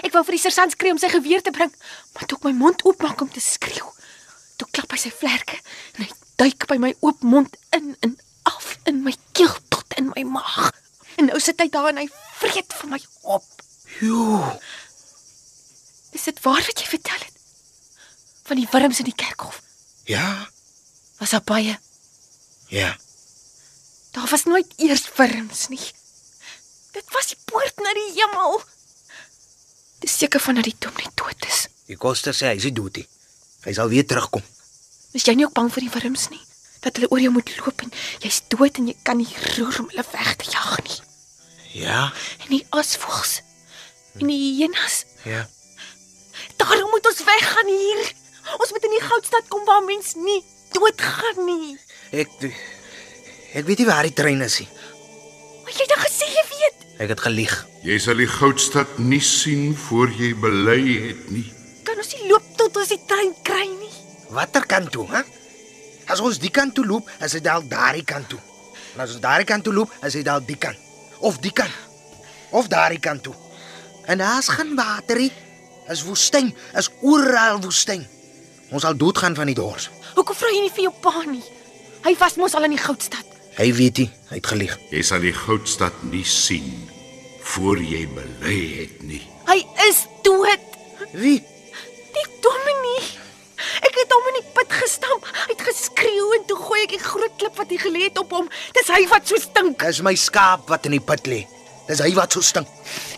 S16: Ek wou vir die sergeant skree om sy geweer te bring, maar toe ek my mond oopmaak om te skreeu, toe klap hy sy vlerke en hy duik by my oop mond in en af in my keel tot in my maag. En nou sit hy daar en hy vreet vir my op.
S10: Jo.
S16: Is dit waar wat jy vertel het? Van die wurms in die kerkhof.
S10: Ja.
S16: Was daar baie?
S10: Ja.
S16: Daar was nooit eers wurms nie. Dit was die poort na die hemel. Dis seker van dat die dominee dood is.
S10: Die koster sê hy is nie dood nie. Hy sal weer terugkom.
S16: Is jy nie ook bang vir die wurms nie? Dat hulle oor jou moet loop en jy's dood en jy kan nie roer om hulle weg te jag nie.
S10: Ja.
S16: En die asvoëls en die hyenas.
S10: Ja.
S16: Daarom moet ons weggaan hier. Ons moet in die goudstad kom waar mens nie doodgaan nie.
S10: Ek ek weet nie waar die trein is nie.
S16: Wat jy dan gesê jy weet.
S10: Ek het gelieg.
S14: Jy sal die goudstad nie sien voor jy bely het nie.
S16: Kan ons nie loop tot ons die trein kry nie?
S10: Watter kant toe, hè? As ons die kant toe loop, is hy dalk daardie kant toe. En as ons daardie kant toe loop, is hy dalk die kant. Of die kant. Of daardie kant toe. En daar's geen water nie. Is woestyn, is oral woestyn. Ons sal doodgaan van die dors.
S16: Hoekom vra jy nie vir jou pa nie? Hy was mos al in die goudstad.
S10: Hy weet nie, hy het gelieg.
S14: Jy sal die goudstad nie sien voor jy bely het nie.
S16: Hy is dood.
S10: Wie?
S16: Die dominee. Ek het hom in die put gestamp. Hy het geskreeu en toe gooi ek die groot klip wat hy gelê het op hom. Dis hy wat so stink.
S10: Dis my skaap wat in die put lê. Dis hy wat so stink.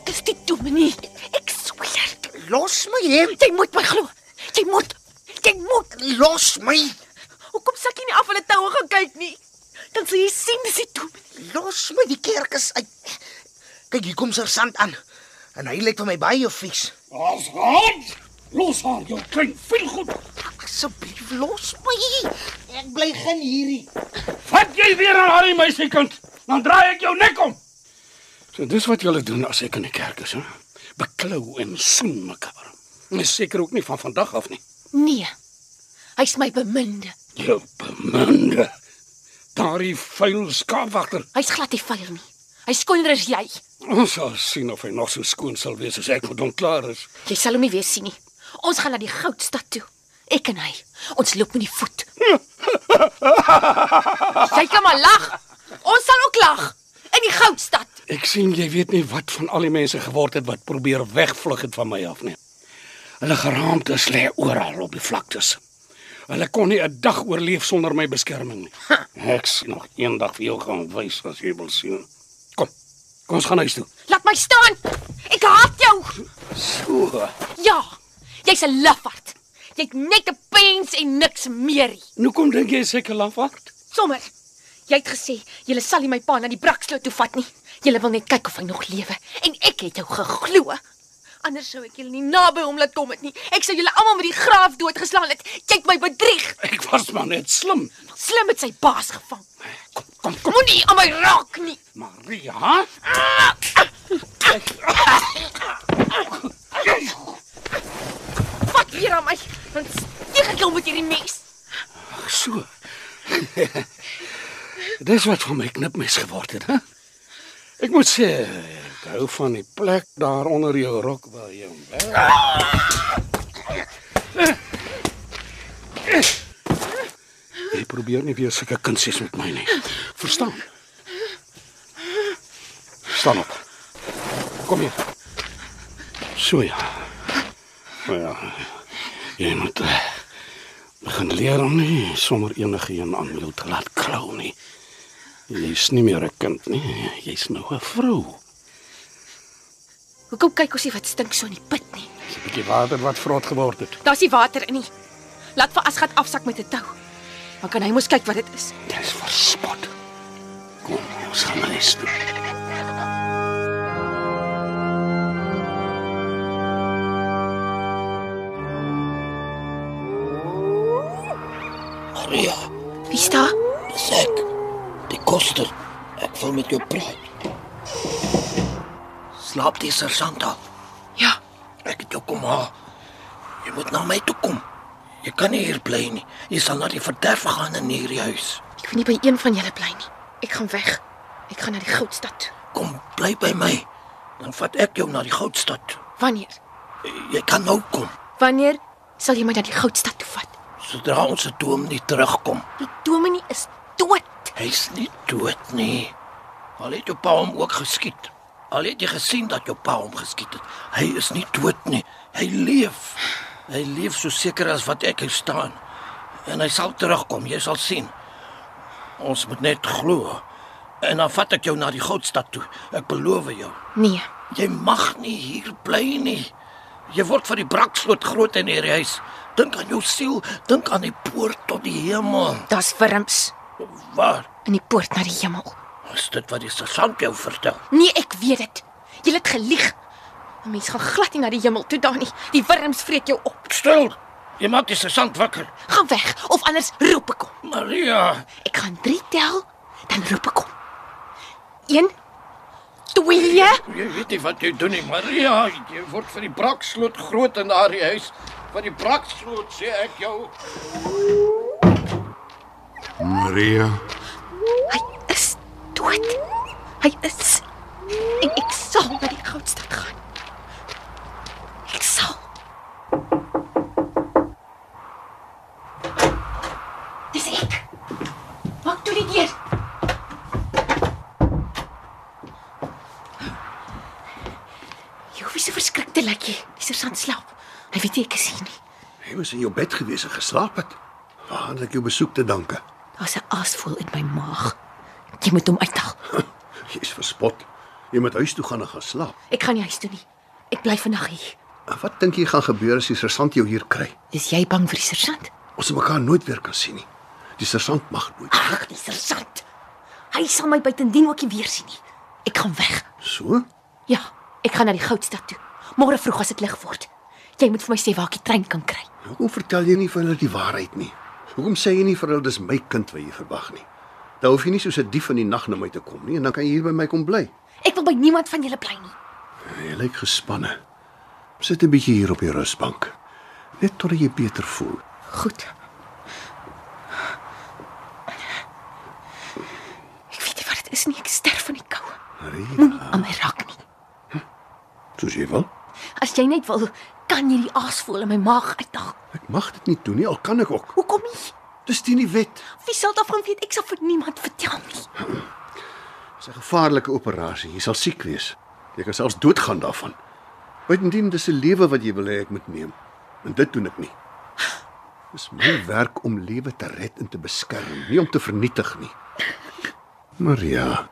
S16: Dis die dominee. Ek sweer.
S10: Los my hê.
S16: Jy moet my glo. Jy moet. Jy moet
S10: los my.
S16: Hoekom sak jy nie af hulle toue gaan kyk nie? Dan sal jy sien dis die dominee.
S10: Los my, die kerk is uit. Kyk, hier kom sergeant aan. En hy lyk vir my baie vies.
S2: Ons gaan. Los haar jou klein vuilgoed.
S10: Asseblief los my. Ek bly geen hierdie.
S2: Vat jy weer aan haar meisiekind, dan draai ek jou nek om. So dis wat julle doen as ek in die kerk is, hè? Beklou en soen mekaar. Mens seker ook nie van vandag af nie.
S16: Nee. Hy's my beminde.
S2: Jou beminde. Daardie vuil skaapwagter.
S16: Hy's glad nie vuil nie. Hy skoner as jy.
S2: Ons sal sien of hy nog so skoon sal wees as ek vir hom klaar is.
S16: Jy sal hom nie weer sien nie. Ons gaan na die goudstad toe. Ek en hy. Ons loop met die voet. Jy kan maar lag. Ons sal ook lag in die goudstad.
S2: Ek sien jy weet nie wat van al die mense geword het wat probeer wegvlug het van my af nie. Hulle geraamtes lê oral op die vlaktes. Hulle kon nie 'n dag oorleef sonder my beskerming nie. Ek sien nog eendag vir jou gaan wys as jy wil sien. Kom. Kom ons gaan huis toe.
S16: Laat my staan. Ek haat jou.
S2: So.
S16: Ja. Jy's 'n lafaard. Jy't net 'n pens en niks meer nie.
S2: Nou kom dink jy seker lafaard?
S16: Sommer. Jy het gesê jy sal nie my pa na die braksloot toe vat nie. Jy wil net kyk of hy nog lewe en ek het jou geglo. Anders sou ek julle nie naby hom laat kom het nie. Ek sou julle almal met die graaf doodgeslaan het. Jy het my bedrieg.
S2: Ek was maar net slim.
S16: Slim het sy baas gevang. Kom, kom, kom moenie aan my raak nie.
S2: Maria.
S16: Vat hier aan my. Dan steek ek jou met hierdie mes.
S2: Ag so. Dis wat van my knipmes geword het, hè? Ek moet sê, ek hou van die plek daar onder jou rok waar jy hom. Jy probeer nie weer sulke kunsies met my nie. Verstaan? Staan op. Kom hier. So ja. Nou ja. Jy moet eh, begin leer om nie sommer enige een aan jou te laat klou nie. Jy's nie meer 'n kind nie, jy's nou 'n vrou.
S6: Hoekom kyk ons nie wat stink so in die put nie?
S2: Dis 'n bietjie water wat vrot geword het.
S6: Daar's nie water in nie. Laat vir Asgat afsak met 'n tou. Dan kan hy mos kyk wat dit is.
S2: Dis verspot. Kom, ons gaan maar eens toe.
S20: Maria,
S6: Wie staan?
S20: dis ek. Die koster. Ek wil met jou praat. Slaap die sergeant al?
S6: Ja.
S20: Ek het jou kom haal. Jy moet na my toe kom. Jy kan nie hier bly nie. Jy sal na die verderf gaan in hierdie huis.
S6: Ek wil nie by een van julle bly nie. Ek gaan weg. Ek gaan na die goudstad toe.
S20: Bly by my. Dan vat ek jou na die goudstad. toe.
S6: Wanneer?
S20: Jy kan nou kom
S6: Wanneer sal jy my na die goudstad toe vat?
S20: sodra ons dominee terugkom.
S6: Die dominee is dood.
S20: Hy's nie dood nie. Al het jou pa hom ook geskiet. Al het jy gesien dat jou pa hom geskiet het. Hy is nie dood nie. Hy leef. Hy leef so seker as wat ek hier staan. En hy sal terugkom, jy sal sien. Ons moet net glo. En dan vat ek jou na die goudstad toe. Ek beloof jou.
S6: Nee.
S20: Jy mag nie hier bly nie. Jy word van die braksloot groot in hierdie huis. Dink aan jou siel, dink aan die poort tot die hemel.
S6: Daar's wurms
S20: Waar?
S6: in die poort na die hemel.
S20: Is dit wat die sergeant jou vertel?
S6: Nee, ek weet dit. Jy het gelieg. 'n Mens gaan glad nie na die hemel toe dan nie. Die wurms vreet jou op.
S20: Stil. Jy maak die sergeant wakker.
S6: Gaan weg of anders roep ek hom.
S20: Maria,
S6: Ek gaan 3 tel, dan roep ek hom. 1 2
S20: jy weet nie wat jy doen nie, Maria. Jy word van die braksloot groot in daardie huis. Van die braksloot sê ek jou.
S14: Maria,
S6: Hy is dood. Hy is en ek sal na die goudstad gaan. Ek sal. Dis ek. Maak toe die deur. Jy hoef nie so verskrik te lyk nie. Die sergeant slaap. Hy weet nie ek is hier nie.
S7: Jy was in jou bed gewees en geslaap het. Waar het ek jou besoek te danke?
S6: Daar's 'n aasvoël in my maag. Jy moet hom uithaal.
S7: Jy's verspot. Jy moet huis toe gaan en gaan slaap.
S6: Ek gaan nie huis toe nie. Ek bly vandag hier.
S7: En wat dink jy gaan gebeur as die sergeant jou hier kry?
S6: Is jy bang vir die sergeant?
S7: Ons sal mekaar nooit weer kan sien nie. Die sergeant mag nooit.
S6: Ag, die sergeant. Hy sal my buitendien ook nie weer sien nie. Ek gaan weg.
S7: So?
S6: Ja, ek gaan na die goudstad toe. Môre vroeg as dit lig word. Jy moet vir my sê waar ek die trein kan kry.
S7: Hoekom vertel jy nie vir hulle die waarheid nie? Hoekom sê jy nie vir hulle dis my kind wat jy verwag nie? Dan hoef jy nie soos 'n dief in die nag na my te kom nie en dan kan jy hier by my kom bly.
S6: Ek wil by niemand van julle bly nie.
S7: Jy lyk gespanne. Sit 'n bietjie hier op die rusbank. Net totdat jy beter voel.
S6: Goed. Ek weet nie wat dit is nie. Ek sterf van die koue. Moenie aan my raak nie.
S7: Hm? Soos jy wil.
S6: As jy net wil, kan jy die aasvoël in my maag uithaal.
S7: Ek mag dit nie doen nie, al kan ek ook.
S6: Hoekom nie?
S7: Dis teen die wet.
S6: Wie sal daarvan weet? Ek sal vir niemand vertel nie.
S7: Dis 'n gevaarlike operasie. Jy sal siek wees. Jy kan selfs doodgaan daarvan. Buitendien dis 'n lewe wat jy wil hê ek moet neem. En dit doen ek nie. Dis my werk om lewe te red en te beskerm, nie om te vernietig nie. Maria,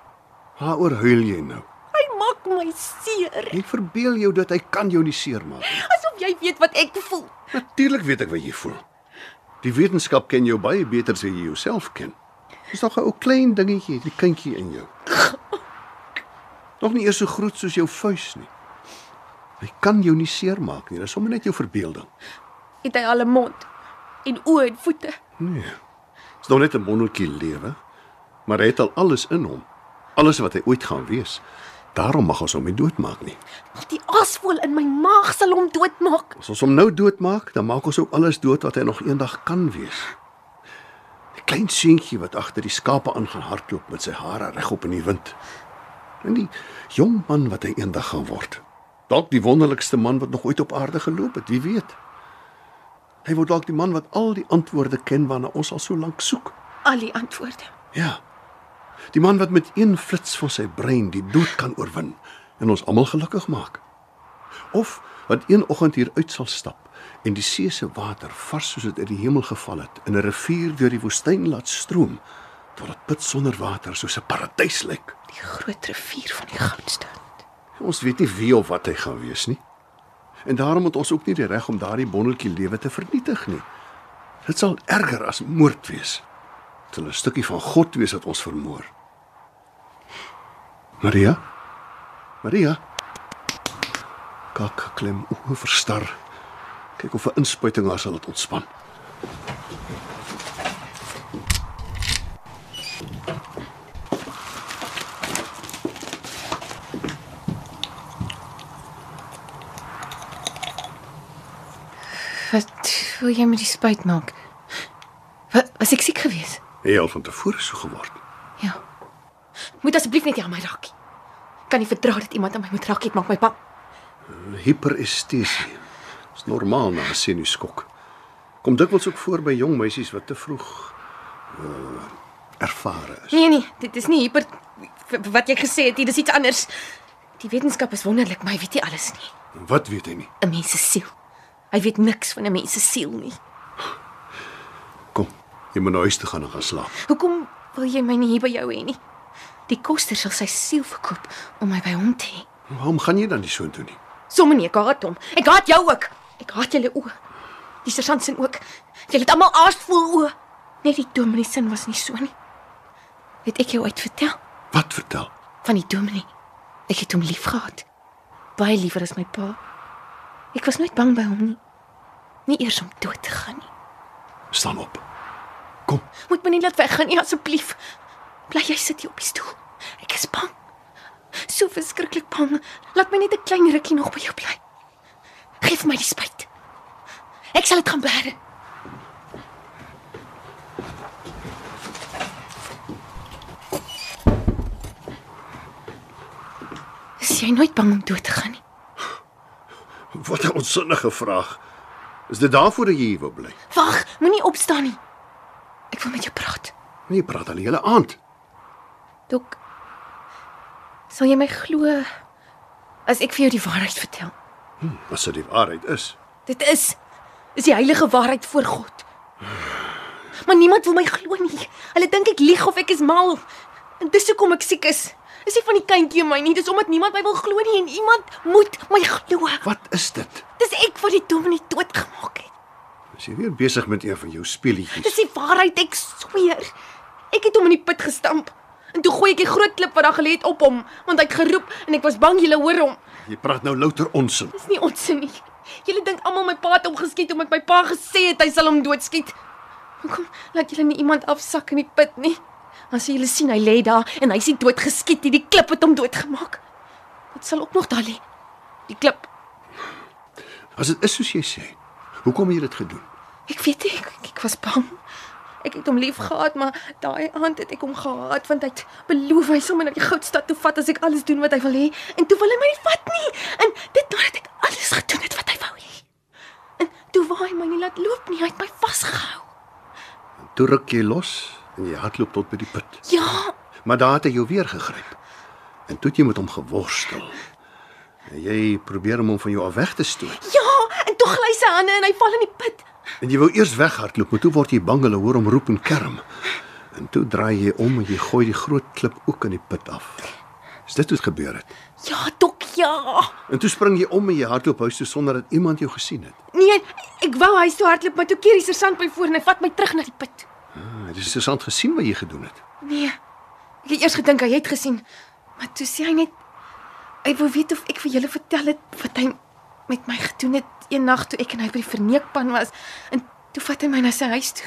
S7: waaroor huil jy nou?
S6: Hy maak my seer.
S7: Jy verbeel jou dat hy kan jou nie seermaak nie.
S6: Asof jy weet wat ek voel.
S7: Natuurlik weet ek wat jy voel. Die wetenskap ken jou baie beter as jy jouself ken. Dis nog 'n ou klein dingetjie, die kindjie in jou. Nog nie eers so groot soos jou vuis nie. Hy kan jou nie seermaak nie, dis sommer net jou verbeelding.
S6: Het hy al 'n mond en oë en voete.
S7: Nee. Dis nog net 'n mondeltjie lewe, maar hy het al alles in hom. Alles wat hy ooit gaan wees. Daarom mag ons hom nie doodmaak nie.
S6: Al die aasvoël in my maag sal hom doodmaak.
S7: As ons hom nou doodmaak, dan maak ons ook alles dood wat hy nog eendag kan wees. Die klein seentjie wat agter die skape aangaan hardloop met sy hare regop in die wind. En die jong man wat hy eendag gaan word. Dalk die wonderlikste man wat nog ooit op aarde geloop het, wie weet. Hy word dalk die man wat al die antwoorde ken waarna ons al so lank soek.
S6: Al die antwoorde.
S7: Ja. Die man wat met een flits van sy brein die dood kan oorwin en ons almal gelukkig maak. Of wat een oggend hier uit sal stap en die see se water vars soos dit uit die hemel geval het in 'n rivier deur die woestyn laat stroom tot 'n put sonder water soos 'n paradys lyk.
S6: Die groot rivier van die goudstad.
S7: Ons weet nie wie of wat hy gaan wees nie. En daarom het ons ook nie die reg om daardie bondeltjie lewe te vernietig nie. Dit sal erger as moord wees. Dit sal 'n stukkie van God wees wat ons vermoor. Maria? Maria? Kak geklem, oë verstar. Kyk of 'n inspuiting haar sal laat ontspan.
S6: Wat wil jy met die spuit maak? Wat was ek siek geweest?
S7: Hy al van tevore so geword.
S6: Ja. Moet asseblief net nie aan my raak nie. Kan nie verdra dat iemand aan my moet raak nie, dit maak my bang.
S7: Hiperestesie. Dis normaal na 'n senuskok. Kom dikwels ook voor by jong meisies wat te vroeg uh, ervare is.
S6: Nee nee, dit is nie hiper wat jy gesê het, nie, dis iets anders. Die wetenskap is wonderlik, maar hy weet nie alles nie.
S7: Wat weet hy nie?
S6: 'n Mens se siel. Hy weet niks van 'n mens se siel nie.
S7: Jy moet na huis toe gaan en gaan slaap.
S6: Hoekom wil jy my nie hier by jou hê nie? Die koster sal sy siel verkoop om my by hom te hê.
S7: Waarom gaan jy dan nie soontoe nie?
S6: Sommige nie, ek haat hom. Ek haat jou ook. Ek haat julle oë. Die sergeant se ook. Julle het almal aasvol oë. Net die dominee se was nie so nie. Het ek jou ooit vertel?
S7: Wat vertel?
S6: van die dominee. Ek het hom liefgehad. Baie liewer as my pa. Ek was nooit bang by hom nie. Nie eers om dood te gaan nie.
S7: Staan op.
S6: Moet my nie laat weggaan nie asseblief. Bly jy sit hier op die stoel. Ek is bang. So verskriklik bang. Laat my net 'n klein rukkie nog by jou bly. Geef my die spyt. Ek sal dit gaan bære. Is jy nooit bang om dood te gaan nie?
S7: Wat 'n onsinnige vraag. Is dit daarvoor dat jy hier wil bly?
S6: Wag, moenie opstaan nie. Ek wil met jou praat.
S7: Nee, praat al die hele aand.
S6: Dok. Sal jy my glo as ek vir jou die waarheid vertel?
S7: Hm, as dit die waarheid is.
S6: Dit is is die heilige waarheid voor God. Maar niemand wil my glo nie. Hulle dink ek lieg of ek is mal. En dis hoekom ek siek is. Is nie van die kindjie in my nie, dis omdat niemand my wil glo nie en iemand moet my glo.
S7: Wat is dit?
S6: Dis ek wat die dominee doodgemaak het.
S7: Is jy weer besig met een van jou speletjies?
S6: Dis die waarheid, ek sweer. Ek het hom in die put gestamp. En toe gooi ek die groot klip wat daar gelê het op hom, want hy het geroep en ek was bang julle hoor hom.
S7: Jy praat nou louter onsin.
S6: Dis nie onsin nie. Julle dink almal my pa het hom geskiet omdat my pa gesê het hy sal hom doodskiet. Hoekom laat julle nie iemand afsak in die put nie? As julle sien hy lê daar en hy's nie doodgeskiet nie, die klip het hom doodgemaak. Dit sal ook nog daar lê. Die klip.
S7: As dit is soos jy sê, hoekom het jy dit gedoen?
S6: Ek weet nie, ek, ek was bang. Ek het hom lief gehad, maar daai aand het ek hom gehaat want hy het beloof hy sal my na die goudstad toe vat as ek alles doen wat hy wil hê en toe wil hy my nie vat nie. En dit nadat ek alles gedoen het wat hy wou hê. En toe wou hy my nie laat loop nie, hy het my vasgehou.
S7: Toe ruk jy los en jy hardloop tot by die put.
S6: Ja,
S7: Maar daar het hy jou weer gegryp. En toe het jy met hom geworstel. En jy probeer om hom van jou af weg te stoot.
S6: ja, en toe gly sy hande en hy val in die put.
S7: En jy wou eers weghardloop, maar toe word jy bang hulle hoor hom roep en kerm. En toe draai jy om en jy gooi die groot klip ook in die put af. Is dit hoe dit gebeur het?
S6: Ja, dok, ja.
S7: En toe spring jy om en jy hardloop huis toe sonder dat iemand jou gesien het.
S6: Nee, ek wou huis toe hardloop, maar toe keer die sergeant my voor en hy vat my terug na die put.
S7: Ah, dit is interessant gesien wat jy gedoen het.
S6: Nee. Ek het eers gedink hy het gesien, maar toe sê hy net hy wou weet of ek vir julle vertel het wat hy met my gedoen het een nag toe ek en hy by die verneekpan was en toe vat hy my na sy huis toe.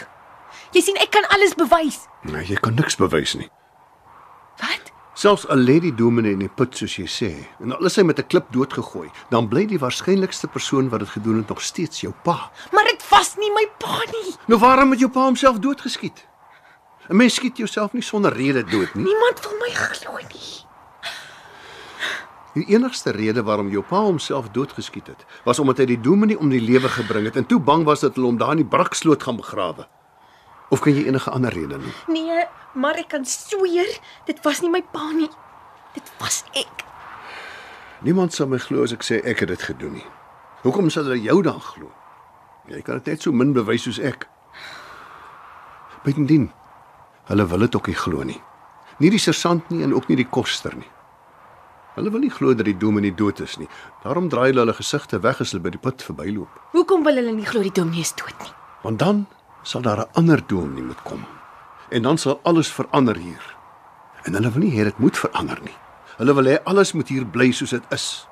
S6: Jy sien, ek kan alles bewys.
S7: Nee, jy kan niks bewys nie. Wat? Selfs al lê die dominee in die put soos jy sê, en al is hy met 'n klip doodgegooi, dan bly die waarskynlikste persoon wat dit gedoen het nog steeds jou pa.
S6: Maar dit was nie my pa nie.
S7: Nou waarom het jou pa homself doodgeskiet? 'n Mens skiet jouself nie sonder rede dood nie.
S6: Niemand wil my glo nie.
S7: Die enigste rede waarom jou pa homself doodgeskiet het, was omdat hy die dominee om die lewe gebring het en toe bang was dat hulle hom daar in die braksloot gaan begrawe. Of kan jy enige ander rede noem?
S6: Nee, maar ek kan sweer dit was nie my pa nie. Dit was ek.
S7: Niemand sal my glo as ek sê ek het dit gedoen nie. Hoekom sal hulle jou dan glo? Ja, Jy kan dit net so min bewys soos ek. Bytendien, hulle wil dit ook nie glo nie. Nie die sersant nie en ook nie die koster nie. Hulle wil nie glo dat die dominee dood is nie. Daarom draai hulle hulle gesigte weg as hulle by die put verbyloop,
S6: Hoekom wil hulle nie glo die dominee is dood nie?
S7: want dan sal daar 'n ander dominee moet kom. En dan sal alles verander hier. En hulle wil nie hê dit moet verander nie. Hulle wil hê alles moet hier bly soos dit is.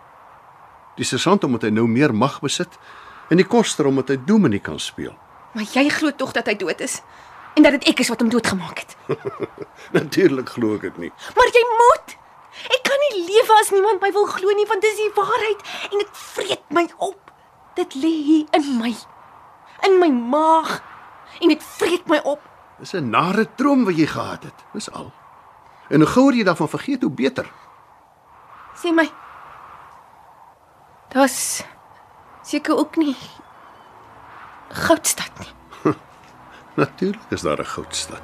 S7: Die sersant omdat hy nou meer mag besit en die koster omdat hy dominee kan speel.
S6: Maar jy glo tog dat hy dood is en dat dit ek is wat hom doodgemaak het.
S7: Natuurlik glo ek dit nie.
S6: Maar jy moet. Ek kan nie lewe as niemand my wil glo nie want dis die waarheid en dit vreet my op. Dit lê hier in my. In my maag en dit vreet my op.
S7: Dis 'n nare droom wat jy gehad het, dis al. En hoe gouer jy daarvan vergeet, hoe beter.
S6: Sê my. Dis seker ook nie Goudstad.
S7: Natuurlik is daar 'n goudstad.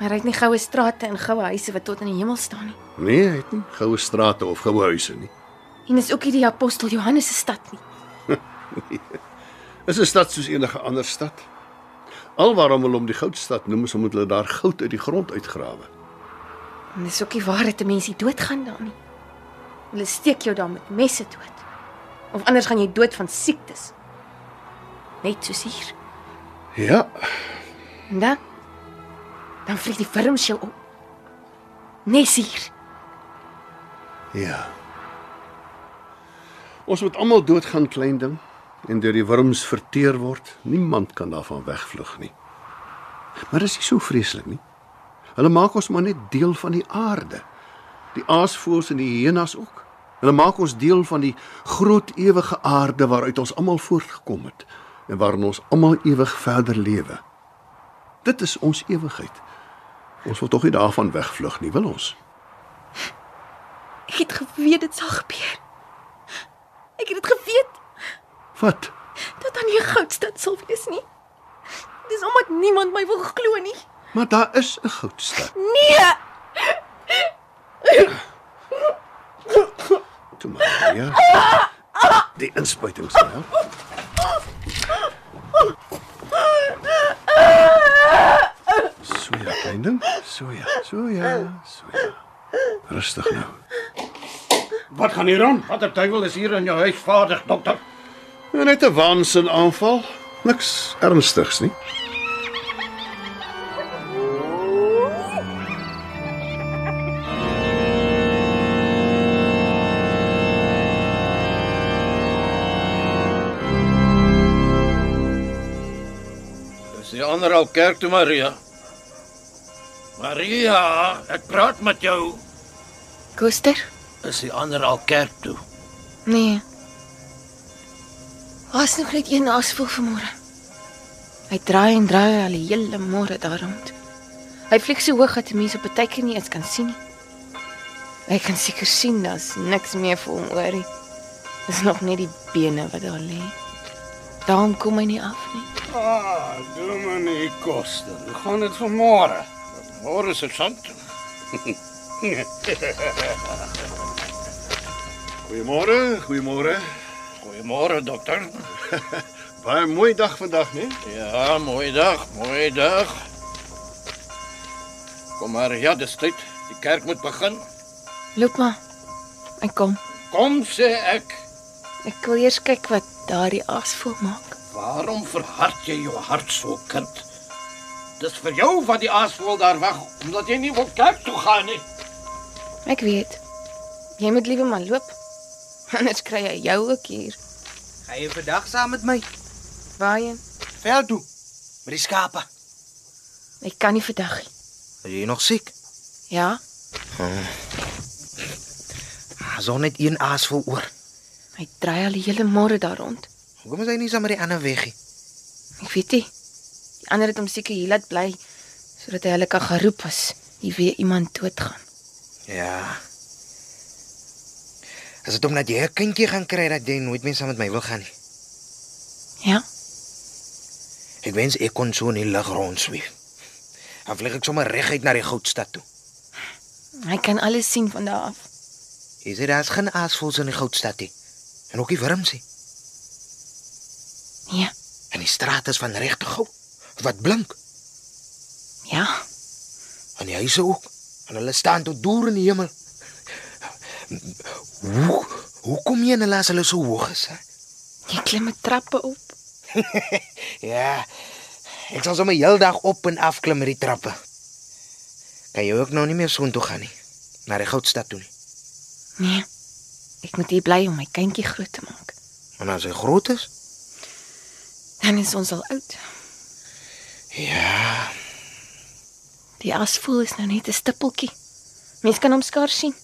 S6: Maar hy het nie goue strate en goue huise wat tot in die hemel staan nie.
S7: Nee, hy het nie goue strate of goue huise nie.
S6: En is ook nie die apostel Johannes se stad nie.
S7: Dis 'n stad soos enige ander stad. Alwaarom hulle hom die goudstad noem is omdat hulle daar goud uit die grond uitgrawe.
S6: En dis ook nie waar dat mense doodgaan daar nie. Hulle steek jou dan met messe dood. Of anders gaan jy dood van siektes. Net soos hier.
S7: Ja,
S6: En dan dan vreet die wurms jou op. Nes hier.
S7: ja. Ons moet almal doodgaan klein ding en deur die wurms verteer word. Niemand kan daarvan wegvlug nie. Maar dis nie so vreeslik nie. Hulle maak ons maar net deel van die aarde. Die aasvoëls en die hyenas ook. Hulle maak ons deel van die groot ewige aarde waaruit ons almal voortgekom het en waarin ons almal ewig verder lewe. Dit is ons ewigheid. Ons wil tog nie daarvan wegvlug nie, wil ons?
S6: Ek het geweet dit sal gebeur. Ek het dit geweet
S7: Wat?
S6: dat aan die goudstad sal wees nie. Dis omdat niemand my wil glo nie.
S7: Maar daar is 'n goudstad.
S6: Nee.
S7: Toe maar, ja. Die inspuiting sal help. So ja, klein ding. So ja, so ja, so ja. Rustig nou.
S2: Wat gaan hier aan? Watter duiwel is hier in jou huis vaardig, dokter?
S7: Net 'n waansin aanval. Niks ernstigs nie.
S3: Is die ander al kerk toe Maria? Maria, ek praat met jou.
S6: Koster?
S3: Is die ander al kerk toe?
S6: Nee. Was nog net een asvol vanmôre. Hy draai en draai al die hele môre daar rond. Hy vlieg so hoog dat mense op partykeer nie eens kan sien nie. Hy kan seker sien daar's niks meer vir hom oor nie. Dis nog net die bene wat daar lê. Daarom kom hy nie af nie.
S2: Ah, dominee Koster. Hoe gaan dit vanmôre?
S3: Môre is dit sand.
S7: Goeiemôre, goeiemôre.
S3: Goeiemôre dokter.
S7: Baie mooi dag vandag, né?
S3: Ja, mooi dag, mooi dag. Kom maar, ja, dis tyd. Die kerk moet begin.
S6: Loop maar. Hy kom.
S3: Kom sê ek.
S6: Ek wil eers kyk wat daardie asvol maak.
S3: Waarom verhard jy jou hart so, kind? Dis vir jou wat die aasvoël daar wag, omdat jy nie wil kerk toe gaan nie.
S6: Ek weet. Jy moet liewe maar loop. Anders kry hy jou ook hier.
S21: Ga je vandag saam met my?
S6: Waarheen?
S21: Veld toe. Met die skape.
S6: Ek kan nie vandag nie.
S21: Is jy nog siek?
S6: Ja,
S21: Son net een aas vol oor.
S6: hy draai al die hele môre daar rond.
S21: Hoekom is hy nie saam met die ander weg nie?
S6: Ek weet nie. Die ander het hom seker hier laat bly sodat hy hulle kan gaan roep as hier weer iemand doodgaan.
S10: Ja. As dit omdat jy 'n kindjie gaan kry dat jy nooit meer saam met my wil gaan nie.
S6: Ja.
S10: Ek wens ek kon so in die lug rondsweef. Dan vlieg ek sommer reguit na die goudstad toe.
S6: Hy kan alles sien van daar af.
S10: Jy sê daar's geen aasvoëls in die goudstad nie. En ook nie wurms nie.
S6: Nee.
S10: En die straat is van regte goud wat blink.
S6: Ja.
S10: En die huise ook. En hulle staan tot deur in die hemel. Hoe hoe kom jy in hulle as hulle so hoog is? Hè?
S6: Jy klim met trappe op.
S10: Ja. Ek sal sommer heeldag op en af klim met die trappe. Kan jy ook nou nie meer soontoe gaan nie. Na die goudstad toe nie.
S6: Nee. Ek moet hier bly om my kindjie groot te maak.
S10: En as hy groot is?
S6: Dan is ons al oud.
S10: Ja.
S6: Die asvoel is nou net 'n stippeltjie. Mens kan hom skaars sien.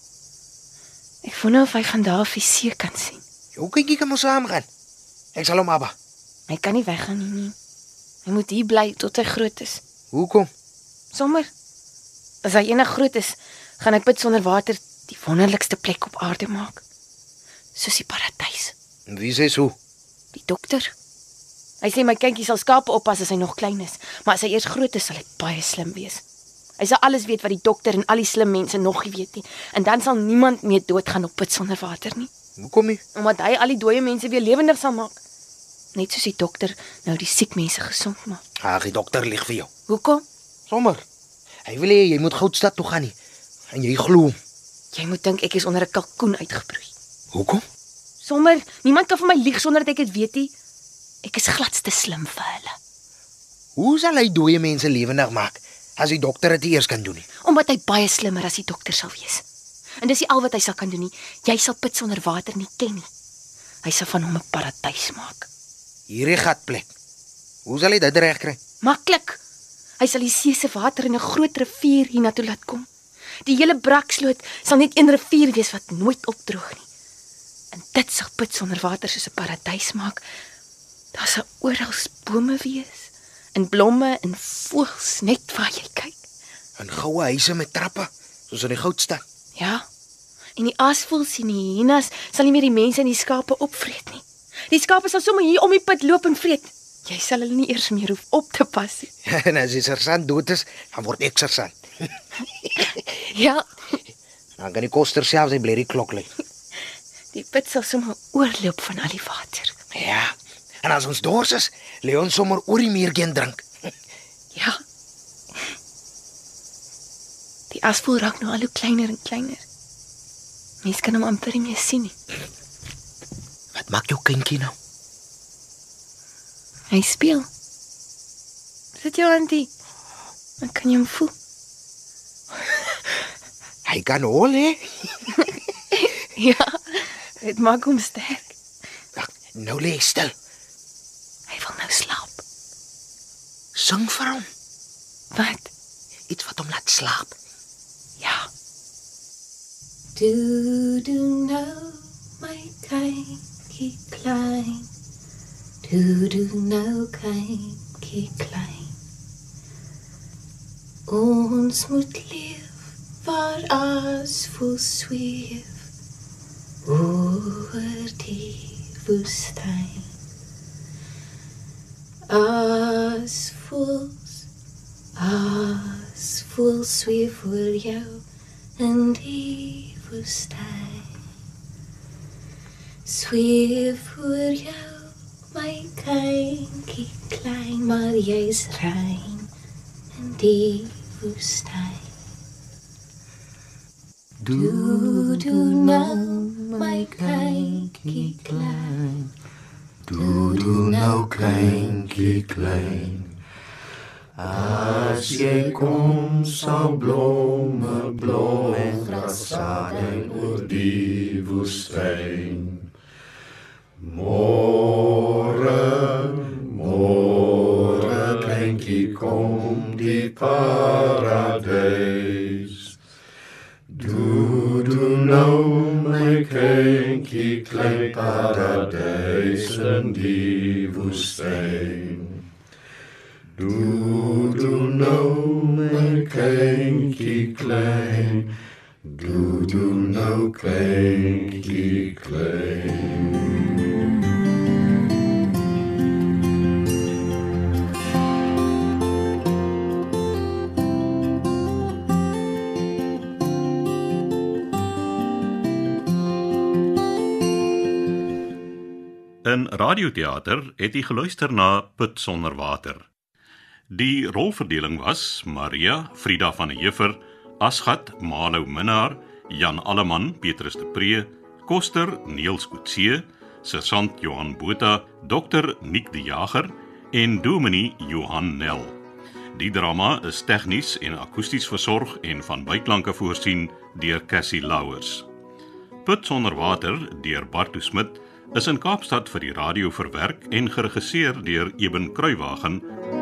S6: Ek wonder of hy gaan daar vir see kan sien.
S10: Jou kindjie kan mos saam gaan. Ek sal hom abba.
S6: Hy kan nie weggaan nie, nie. Hy moet hier bly tot hy groot is.
S10: Hoekom?
S6: Sommer. As hy enig groot is, gaan hy put sonder water die wonderlikste plek op aarde maak. Soos die paradys.
S10: En wie sê so?
S6: Die dokter. Hy sê my kindjie sal skape oppas as hy nog klein is, maar as hy eers groot is, sal hy baie slim wees. Hy sal alles weet wat die dokter en al die slim mense nog nie weet nie, en dan sal niemand meer doodgaan op put sonder water nie,
S10: Hoekom nie?
S6: omdat hy al die dooie mense weer lewendig sal maak. Net soos die dokter nou die siek mense gesond maak.
S10: Ag, die dokter lieg vir jou.
S6: Hoekom?
S10: Sommer. Hy wil hê jy moet Goudstad toe gaan nie. En jy glo. hom.
S6: Jy moet dink ek is onder 'n kalkoen uitgebroei.
S10: Hoekom?
S6: Sommer, niemand kan vir my lieg sonder dat ek dit weet nie. Ek is gladste slim vir hulle,
S10: Hoe sal hy dooie mense lewendig maak as die dokter dit nie eers kan doen nie?
S6: omdat hy baie slimmer as die dokter sal wees. En dis nie al wat hy sal kan doen nie. Jy sal put sonder water nie ken nie. Hy sal van hom 'n paradys maak.
S10: Hierdie gatplek. Hoe sal hy dit regkry?
S6: Maklik. Hy sal die see se water in 'n groot rivier hiernatoe laat kom. Die hele braksloot sal net een rivier wees wat nooit opdroog nie. En dit sal put sonder water soos 'n paradys maak. Daar sal oral bome wees en blomme en voëls net waar jy kyk.
S10: In goue huise met trappe, soos in die goudstad.
S6: Ja. En die aasvoëls en die hyenas sal nie meer die mense en die skape opvreet nie. Die skape sal sommer hier om die put loop en vreet. Jy sal hulle nie eers meer hoef op te pas nie.
S10: en as die sergeant dood is, dan word ek sergeant.
S6: Ja,
S10: Dan kan die koster self sy blerrie klok lê.
S6: Die put sal sommer oorloop van al die water.
S10: Ja. En as ons dors is, lê ons sommer oor die muur geen drink.
S6: Ja. Die asvoel raak nou al hoe kleiner en kleiner. Mens kan hom amper nie meer sien nie.
S10: Wat maak jou kindjie nou?
S6: Hy speel. Sit jou antie. Ek kan hom voel.
S10: Hy kan hol hè?
S6: ja. Dit maak hom sterk.
S10: Nou lê hy stil.
S6: Hy wil nou slaap.
S10: Sing vir hom.
S6: Wat?
S10: Iets wat hom laat slaap.
S6: Ja.
S22: Do do nou my kindjie klein. Do do nou kindjie klein. Ons moet leef waar as vol sweef. Oor die woestyn. As vol as vol sweef oor jou in die woestyn. Sweef oor jou, my kindjie klein, maar jy's rein in die woestyn. Do do nou, my kindjie klein.
S14: Doe doe nou kleinkie klein. As jy kom sal blomme blom en gras saai oor die woestyn. Môre, môre kleinkie kom die paradys. Doe doe nou my kindjie klein paradys in die woestyn. Doe doe nou my
S22: kindjie klein, doe doe nou kindjie klein.
S9: In radioteater het hy geluister na Put sonder water. Die rolverdeling was Maria, Frida van der Heever, Asgat, Malou Minnar, Jan Alleman, Petrus de Pree, Koster, Neels Kutse, Sersant Johan Botha, Dr Nick die Jager en Dominee Johan Nel. Die drama is tegnies en akoesties versorg en van byklanke voorsien deur Cassie Louwers. Put sonder water deur Bartu Smit is in Kaapstad vir die radio verwerk en geregisseer deur Eben Kruiwagen